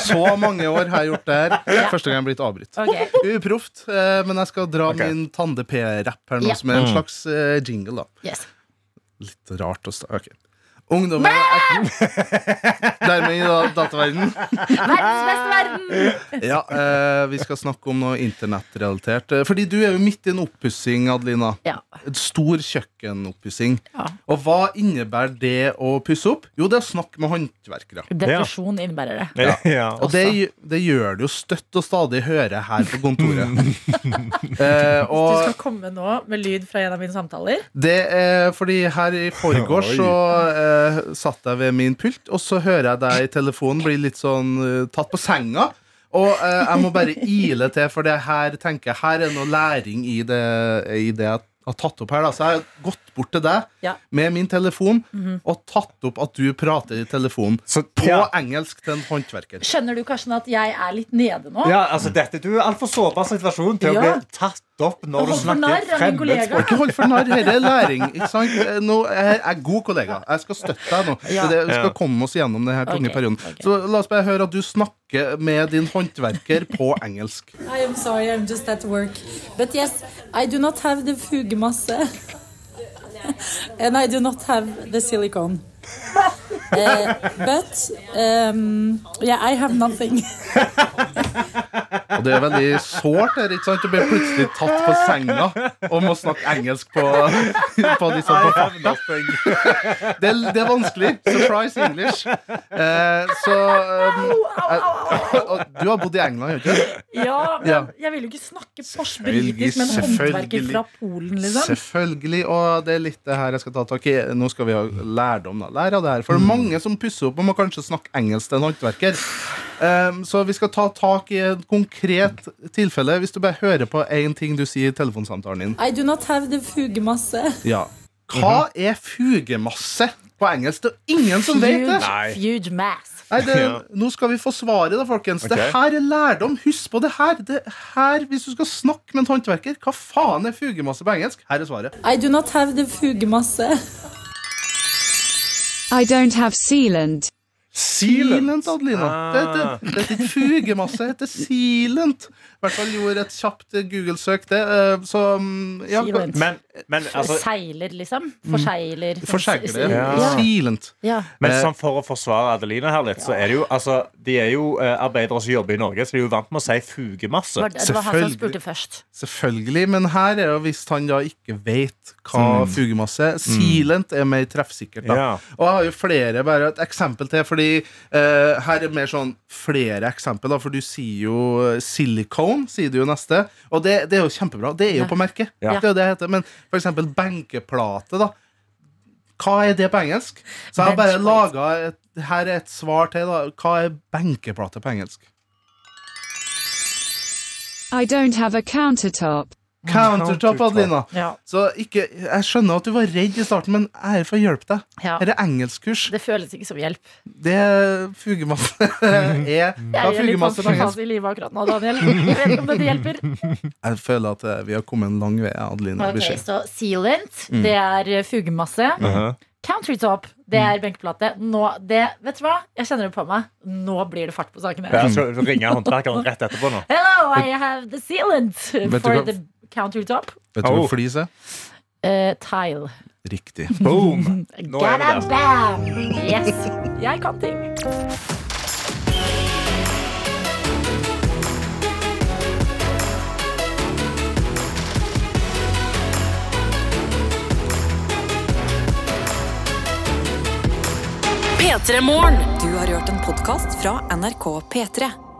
Så mange år har jeg gjort det her. Første gang jeg er blitt avbrutt. Ok. Uproft, eh, men jeg skal dra min tande-P-rapp her nå, Ja. som er en Mm. slags eh, jingle, da. Yes. Litt rart å starte. Ok. Ungdommen er Dermed i da- dataverdenen. Verdens beste verden! Ja, eh, vi skal snakke om noe internettrelatert. Eh, Fordi du er jo midt i en oppussing, Adelina. Ja. Et stor kjøkkenoppussing. Ja. Og hva innebærer det å pusse opp? Jo, det er å snakke med håndverkere. Depresjon innebærer det. Ja. Og det, gj- det gjør det jo støtt og stadig høre her på kontoret. Du eh, skal og komme nå med lyd fra en av mine samtaler. det er fordi her i forgårs så eh, satt jeg ved min pult, og så hører jeg deg i telefonen bli litt sånn eh, tatt på senga. Og eh, jeg må bare ile til, for det her tenker jeg, her er noe læring i det, i det jeg har tatt opp her. Da. Så jeg har gått bort til deg Ja. med min telefon og tatt opp at du prater i telefonen Så, på ja. engelsk til en håndverker. Skjønner du Karsten, at jeg er litt nede nå? Ja, altså dette, Du er altfor sårbar situasjon til Ja. å bli tatt opp når du Hold for narr snakker av min kollega. Ikke hold for narr, dette er læring. Ikke sant? Nå, jeg er god kollega. Jeg skal støtte deg nå. Ja. Det, vi skal Ja. komme oss gjennom denne tunge Ok, perioden. ok. Så la oss bare høre at du snakker med din håndverker på engelsk. I am sorry, I'm just at work. But yes, I do not have the fugemasse. and I do not have the silicone. Uh, but um, yeah, I have nothing. Og det er veldig sårt her, ikke sant? Du blir plutselig tatt på senga og må snakke engelsk på, på, liksom, på farta. Det, er- det er vanskelig. Surprise English. Eh, så um, eh, og Du har bodd i England, gjør du ikke? Ja, men Ja. jeg vil jo ikke snakke fors Selvfølgelig, britisk med en håndverker selvfølgelig. fra Polen, liksom. Selvfølgelig, og det er litt det her jeg skal ta tak i. Nå skal vi ha lærdom, da. Lær av det her. For det er mange som pusser opp og må kanskje snakke engelsk til en håndverker. Ehm, så vi skal ta tak i et konkret tilfelle, hvis du bare hører på én ting du sier i telefonsamtalen din. I do not have the fugemasse. Ja. Hva er fugemasse på engelsk? Det er ingen som vet det! Nei. Huge mass. Nei, det, nå skal vi få svaret, da, folkens. Det Ok. her er lærdom. Husk på det her. Det her. Hvis du skal snakke med en håndverker, hva faen er fugemasse på engelsk? Her er svaret. I do not have the fugemasse. I don't have sealant. Silent, Adelina. Ah. Det heter, det heter fugemasse. Det heter silent. I hvert fall gjorde et kjapt eh, Google-søk, det. eh, Så mm, ja, Silent. Men, men, altså, Seiler, liksom. Forsegler. Mm. Forsegler det. Ja. Silent. Ja. men sånn for å forsvare Adelina her litt, så er det jo altså, De er jo eh, arbeidere som jobber i Norge, så de er jo vant med å si fugemasse. Var det, det var han som Selvfølgelig. spurte først. Selvfølgelig, men her er jo hvis han da ikke vet hva fugemasse er. Silent er mer treffsikkert, da. Ja. Og jeg har jo flere, bare et eksempel til, fordi eh, her er mer sånn flere eksempel, da, for du sier jo eh, silicone, sier du jo neste, og det, det er jo kjempebra. Det er jo Ja. på merket. Ja. Det er jo det det heter. Men for eksempel benkeplate, da. Hva er det på engelsk? Så jeg har bare Benchplate. laga et Her er et svar til, da. Hva er benkeplate på engelsk? I don't have a countertop. Countertop, Adelina. Ja. Så ikke, jeg skjønner at du var redd i starten, men jeg er her for å hjelpe deg. Ja. Her er engelskkurs. Det føles ikke som hjelp. Det er fugemasse er Hva Jeg er er litt fugemasse på sånn engelsk? fas i livet akkurat nå, Daniel. Jeg vet ikke om dette hjelper. Jeg føler at eh, vi har kommet en lang vei, Adelina. Ok, Beskjed. Så sealant, Mm. det er eh, fugemasse. Uh-huh. Countertop, det Mm. er benkeplate. Nå, det, vet du hva? Jeg kjenner det på meg. Nå blir det fart på sakene. Ja, så ringer jeg håndverkeren rett etterpå nå. Hello, I have the sealant du for hva- the countertop. Vet du Oh. hvor flis er? Eh, tile. Riktig. Boom! Nå er vi der. Gadabam! Yes, jeg kan ting. P3 Morgen. Du har hørt en podkast fra NRK P3.